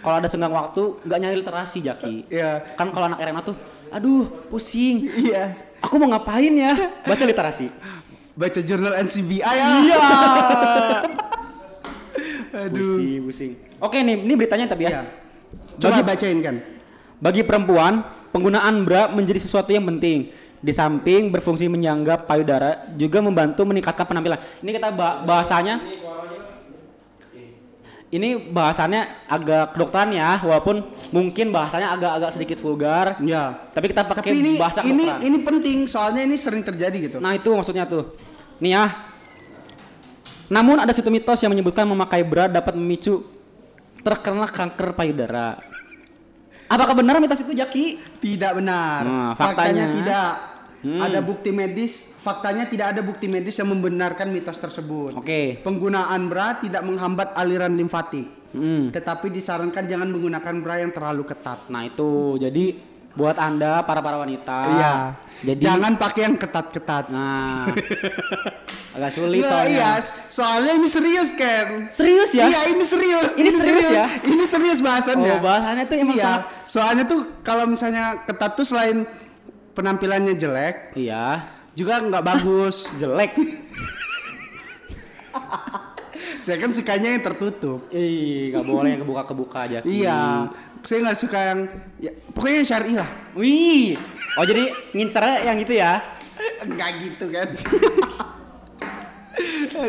kalau ada senggang waktu nggak nyari literasi Jaki.
Iya.
Kan kalau anak RMA tuh, aduh pusing.
iya
Aku mau ngapain ya? Baca literasi.
baca jurnal NCBI ya.
Iya.
Aduh.
Pusing, pusing. Oke nih, ini beritanya tapi ya.
Iya. Coba
Bagi-
bacain kan.
Bagi perempuan, penggunaan bra menjadi sesuatu yang penting. Di samping berfungsi menyangga payudara, juga membantu meningkatkan penampilan. Ini kita ba- bahasanya. Ini bahasannya agak kedokteran ya, walaupun mungkin bahasanya agak-agak sedikit vulgar.
Ya.
Tapi kita pakai
Tapi ini
bahasa
ini
kedokteran.
ini penting soalnya ini sering terjadi gitu.
Nah itu maksudnya tuh. Nih ya. Namun ada satu mitos yang menyebutkan memakai bra dapat memicu terkena kanker payudara. Apakah benar mitos itu Jaki?
Tidak benar.
Nah,
faktanya.
faktanya. Hmm.
tidak. Ada bukti medis, faktanya tidak ada bukti medis yang membenarkan mitos tersebut.
Oke.
Penggunaan bra tidak menghambat aliran limfatik,
Hmm.
tetapi disarankan jangan menggunakan bra yang terlalu ketat.
Nah itu jadi buat anda para para wanita.
Iya.
Ah, Jadi
Jangan pakai yang ketat-ketat.
Nah agak sulit
Nah,
soalnya.
iya, soalnya ini serius Ken.
Serius ya?
Iya, ini serius.
Ini serius ya?
Ini serius bahasannya.
Oh bahasannya tuh emang
Iya,
sangat.
soalnya tuh kalau misalnya ketat tuh selain penampilannya jelek,
Iya.
juga nggak bagus.
Jelek.
Saya kan sukanya yang tertutup.
Ih nggak boleh yang kebuka kebuka aja.
Iya, saya nggak suka yang ya, pokoknya yang syar'i lah.
Wih. Oh jadi ngincernya yang itu ya?
Enggak gitu kan.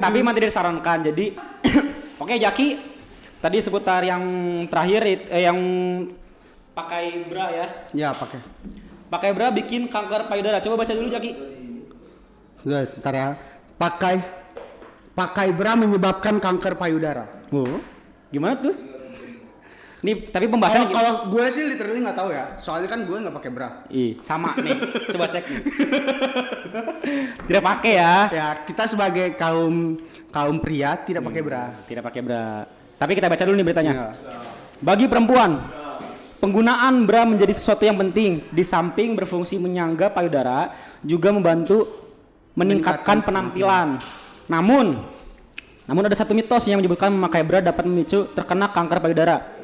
Tapi emang tidak disarankan. Jadi oke Jaki tadi seputar yang terakhir it- eh, yang pakai bra ya.
ya pakai.
Pakai bra bikin kanker payudara. Coba baca dulu Jaki.
Udah, ntar ya. Pakai pakai bra menyebabkan kanker payudara.
Oh. Gimana tuh? Nih, tapi
Kalau
pembahasannya
kalau gue sih literally nggak tahu ya. Soalnya kan gue nggak pakai bra.
Ih, sama nih. Coba cek nih. Tidak pakai ya.
Ya, kita sebagai kaum kaum pria tidak pakai bra.
Tidak pakai bra. Tapi kita baca dulu nih beritanya.
Ya.
Bagi perempuan, penggunaan bra menjadi sesuatu yang penting. Di samping berfungsi menyangga payudara, juga membantu meningkatkan penampilan. Namun, namun ada satu mitos yang menyebutkan memakai bra dapat memicu terkena kanker payudara.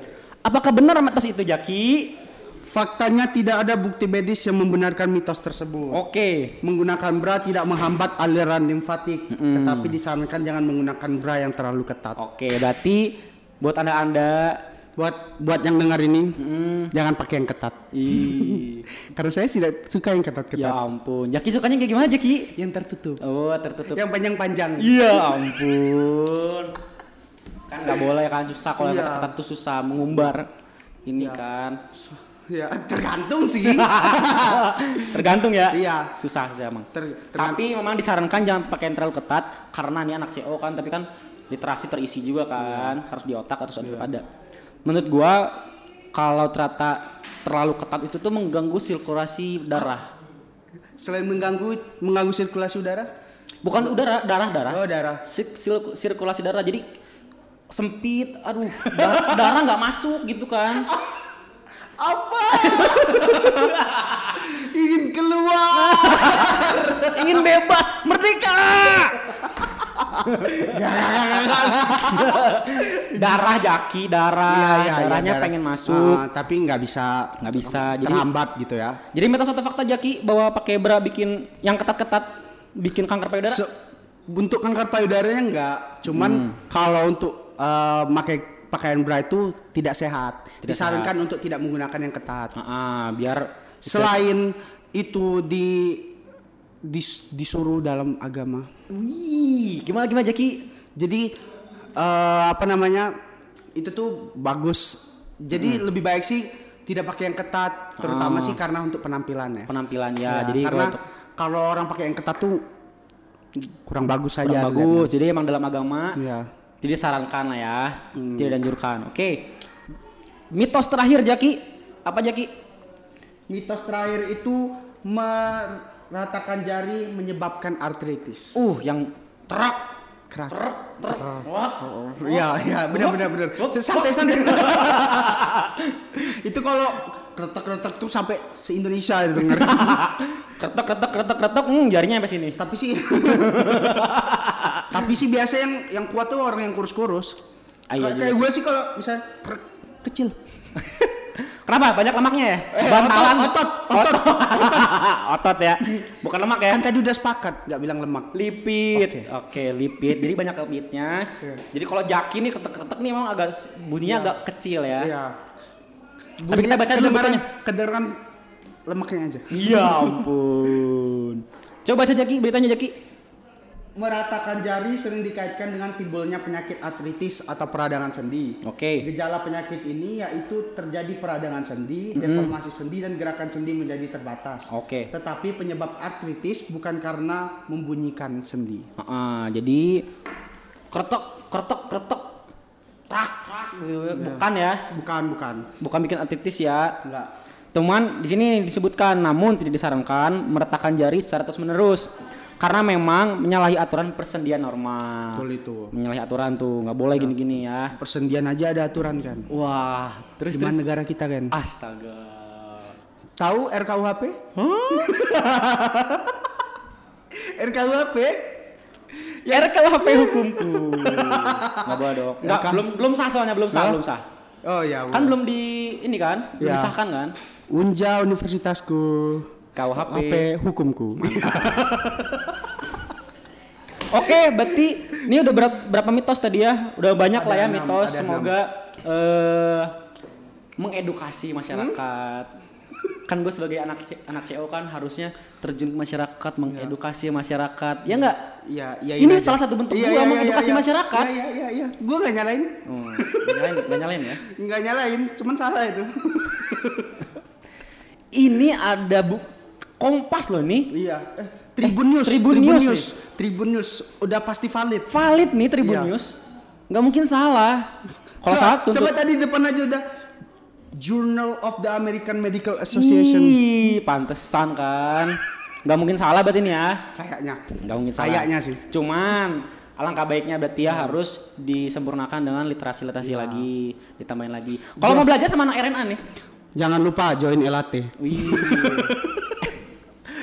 Apakah benar mitos itu, Jaki?
Faktanya tidak ada bukti medis yang membenarkan mitos tersebut.
Oke.
Menggunakan bra tidak menghambat aliran limfatik, tetapi disarankan jangan menggunakan bra yang terlalu ketat.
Oke, berarti buat Anda-anda
Buat buat yang dengar ini, jangan pakai yang ketat.
Ih,
Karena saya tidak suka yang ketat-ketat.
ya ampun. Jaki sukanya kayak gimana, Jaki?
Yang tertutup.
Oh, tertutup.
Yang panjang-panjang.
Iya ampun. Kan nggak boleh kan susah kalau
Iya.
yang ketat tuh susah mengumbar. Ini kan.
Ya, tergantung sih.
Tergantung ya.
Iya.
Susah sih emang.
Ter- tergantung.
Tapi memang disarankan jangan pakai yang terlalu ketat karena ini anak CO kan tapi kan literasi terisi juga
Iya.
kan harus di otak harus ada. Menurut gua kalau ternyata terlalu ketat itu tuh mengganggu sirkulasi darah.
Selain mengganggu mengganggu sirkulasi udara, Iya.
Bukan udara, darah, darah.
oh darah.
Sik- sil- sirkulasi darah jadi sempit aduh da- darah nggak masuk gitu kan
Apa? Ingin keluar.
ingin bebas merdeka darah jaki darah
Iya, iya, iya,
darahnya
darah.
pengen masuk
Ah, tapi nggak bisa
Nggak bisa, jadi-
terhambat gitu ya
jadi mitos atau fakta jaki bahwa pakai bra bikin yang ketat-ketat bikin kanker payudara
Se- untuk kanker payudaranya nggak cuman
Hmm.
kalau untuk eh, pakai pakaian bra itu tidak sehat disarankan untuk tidak menggunakan yang ketat
Ah, ah, biar
selain itu di dis- disuruh dalam agama
wih gimana gimana jaki
jadi eh, apa namanya itu tuh bagus jadi
Hmm.
lebih baik sih tidak pakai yang ketat terutama
Oh.
sih karena untuk penampilannya
penampilan ya,
Ya,
jadi
karena
kalau-
kalau orang pakai yang ketat tuh kurang bagus
kurang
aja.
bagus jadi emang dalam agama
Iya.
Jadi sarankan lah ya,
Hmm.
tidak dianjurkan. Oke. Mitos terakhir Jaki, apa Jaki?
Mitos terakhir itu meratakan jari menyebabkan artritis.
Uh, yang terak,
Kerak.
terak, terak. Wah.
Iya, iya, benar benar benar. Santai santai. itu kalau retak-retak tuh sampai se-Indonesia denger.
Kretek, kretek, kretek, kretek. Hmm, jarinya sampai sini.
Tapi sih Tapi sih biasa yang yang kuat tuh orang yang kurus-kurus.
Ah, iya
Kayak-
juga
Kayak gue sih kalau misalnya krek, kecil.
Kenapa? Banyak lemaknya ya?
Eh,
Bantalan.
otot, otot,
otot. Otot ya. Bukan lemak ya.
Kan tadi udah sepakat nggak bilang lemak.
Lipid. Oke, lipid. Jadi banyak lipidnya.
Iya.
Jadi kalau jaki nih ketek-ketek nih memang agak s- bunyinya agak kecil
Iya.
ya. kita
Bunyinya
baca dulu
kedengaran-
bukunya.
kedengaran lemaknya aja.
Iya ampun. Coba baca Jaki, beritanya Jaki.
Meratakan jari sering dikaitkan dengan timbulnya penyakit artritis atau peradangan sendi.
Oke.
Gejala penyakit ini yaitu terjadi peradangan sendi, deformasi sendi dan gerakan sendi menjadi terbatas.
Oke.
Tetapi penyebab artritis bukan karena membunyikan sendi.
Heeh, jadi kretok kretok kretok trak trak gitu.
Iya.
Bukan ya.
Bukan, bukan.
Bukan bikin artritis ya.
Enggak.
Teman, di sini disebutkan namun tidak disarankan meretakkan jari secara terus-menerus karena memang menyalahi aturan persendian normal.
Betul itu.
Menyalahi aturan tuh, nggak boleh gini-gini ya.
Persendian aja ada aturan kan.
Wah, terus
Cuman negara kita kan.
terus. Astaga.
Tahu RKUHP? Hmm? RKUHP?
Ya RKUHP hukumku. Nggak boleh dong. Nggak,
Ya kan?
belum belum sah soalnya, belum sah,
Hah?
belum sah.
Oh ya.
Kan belum di ini kan, belum
Ya.
disahkan kan?
Unja universitasku.
KUHP.
HP hukumku.
Oke, berarti ini udah berap- berapa mitos tadi ya? Udah banyak
Ada
lah ya
enam,
mitos.
ada
Semoga eh mengedukasi masyarakat.
Hmm?
Kan gue sebagai anak C- anak CO kan harusnya terjun ke masyarakat, mengedukasi masyarakat. Ya enggak?
Iya, iya.
Ini salah satu bentuk gua mengedukasi masyarakat.
Iya, iya, iya. Gua nggak nyalain.
Hmm, nggak nyalain, nggak nyalain ya.
Nggak nyalain, cuman salah itu.
Ini ada bu kompas loh nih.
iya. Eh, Tribun News.
Tribun News nih.
Tribun News udah pasti valid.
Valid nih Tribun
Iya.
News. Nggak mungkin salah. Kalau
Coba-
salah tuntut.
Coba tadi depan aja udah Journal of the American Medical Association.
Ih, pantesan kan. Nggak mungkin salah berarti ini ya.
Kayaknya.
nggak mungkin salah.
Kayaknya sih.
Cuman alangkah baiknya berarti ya harus disempurnakan dengan literasi-literasi
Iya.
lagi, ditambahin lagi. Kalau mau belajar sama anak RNA nih.
Jangan lupa join LAT.
Wih.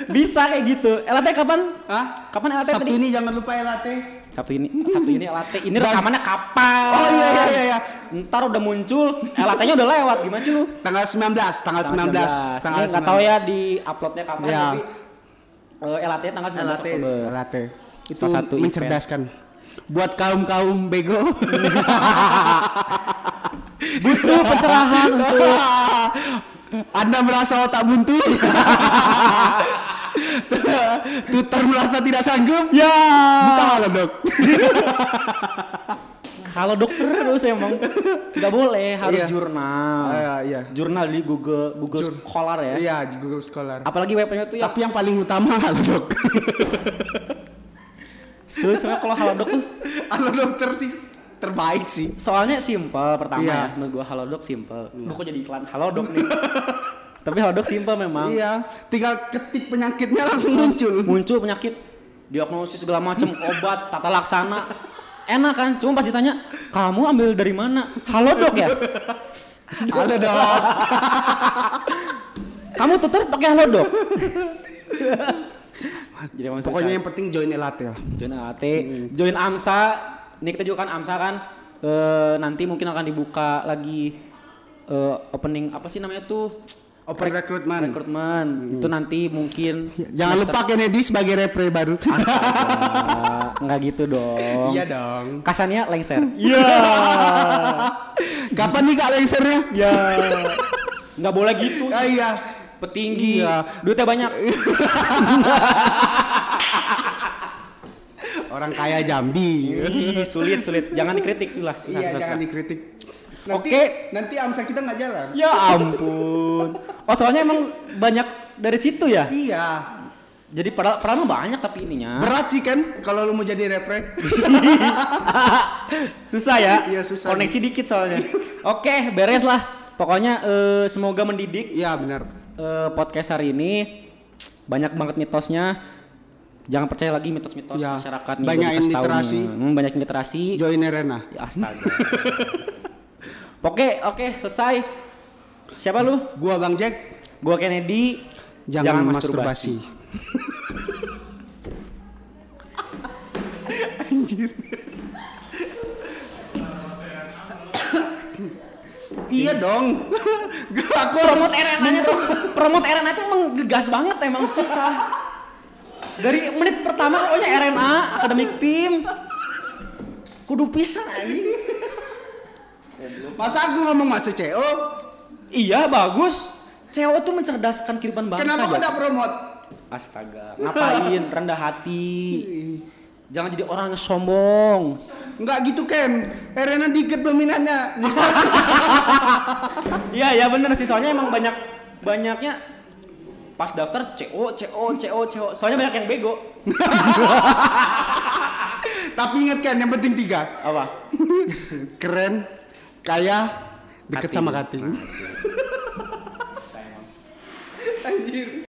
Bisa kayak gitu. LAT kapan?
Hah?
Kapan LAT
Sabtu
tadi?
ini jangan lupa ya, LAT.
Sabtu ini. Oh, Sabtu ini LAT. Ini
Bang-
rekamannya kapan?
Oh, iya, iya, iya, iya.
Ntar udah muncul, LAT-nya udah lewat. Gimana sih lu?
Tanggal 19, tanggal
Tanggal
Iya, 19, tanggal
19. Ini nggak tahu ya di uploadnya kapan
Iya.
tapi eh, LAT tanggal 19
LAT,
Oktober.
LAT. Itu
Salah satu event.
mencerdaskan. Buat kaum-kaum bego.
Butuh pencerahan untuk
Anda merasa otak buntu? Twitter merasa tidak sanggup?
Ya.
Buka malam dok.
Halo dokter terus emang. Gak boleh harus
Iya.
jurnal.
Iya, iya.
Jurnal di Google Google
Jur-
Scholar ya.
Iya, di Google Scholar.
Apalagi webnya tuh ya.
Tapi yang paling utama halo dok.
Sulit sebenarnya kalau Halodoc tuh
halo dokter sih terbaik sih.
soalnya simple pertama ya.
Iya.
Menurut gua Halodoc simple. Gua kok jadi iklan Halodoc nih. Tapi Halodoc simple memang.
Iya, tinggal ketik penyakitnya langsung muncul.
Muncul penyakit diagnosis segala macam obat tata laksana enak kan cuma pas ditanya kamu ambil dari mana halodoc ya
Halo dok.
kamu tutur pakai halodoc jadi emang susah.
Pokoknya yang penting join elat ya.
join AT, join AMSA. Ini kita juga kan AMSA kan eh, nanti mungkin akan dibuka lagi eh, opening apa sih namanya tuh
Open recruitment.
rekrutmen itu nanti mungkin
Hmm. Ya, Jangan lupa Kennedy sebagai repre baru.
Nggak- nggak gitu dong.
iya dong.
Kasannya lengser. Iya.
Kapan nih kak lengsernya?
Iya.
Ya.
Nggak boleh gitu.
Ah, iya.
Petinggi.
Iya.
Duitnya banyak.
Orang kaya Jambi.
Ih, sulit sulit. Jangan dikritik sulah. Susah,
iya
susah,
jangan
susah.
dikritik. Nanti,
Oke.
Nanti amsa kita nggak jalan.
Ya ampun. Oh soalnya emang banyak dari situ ya.
Iya.
Jadi padahal padahal mah banyak tapi ininya.
Berat sih kan kalau lu mau jadi repre.
susah ya.
Iya, susah
Koneksi dikit soalnya. Oke, beres lah. Pokoknya eh, semoga mendidik
Iya benar.
eh, podcast hari ini. Banyak banget mitosnya. Jangan percaya lagi mitos-mitos
Ya,
masyarakat nih.
banyakin
gua dikasih tahu
literasi.
nih. Hmm, banyak literasi.
Join Arena.
Ya, Astaga. oke, oke, selesai. Siapa lu?
Gua Bang Jack.
Gua Kennedy.
Jangan, masturbasi. Anjir. Iya dong. Gak, aku harus
promote RNA nya tuh promote RNA tuh emang gegas banget emang susah dari menit pertama pokoknya RNA akademik tim kudu pisah anjing
Masa aku ngomong Oh, masuk CO?
iya bagus CO tuh mencerdaskan kehidupan bangsa
Kenapa
ya.
kau tak promote?
astaga ngapain rendah hati jangan jadi orang yang sombong
Enggak gitu Ken. Arena dikit peminatnya.
iya ya bener sih soalnya emang banyak banyaknya pas daftar CO CO CO CO soalnya banyak yang bego
Tapi ingat Ken, yang penting tiga.
apa
Keren, kaya,
Kating.
deket sama kating. Anjir.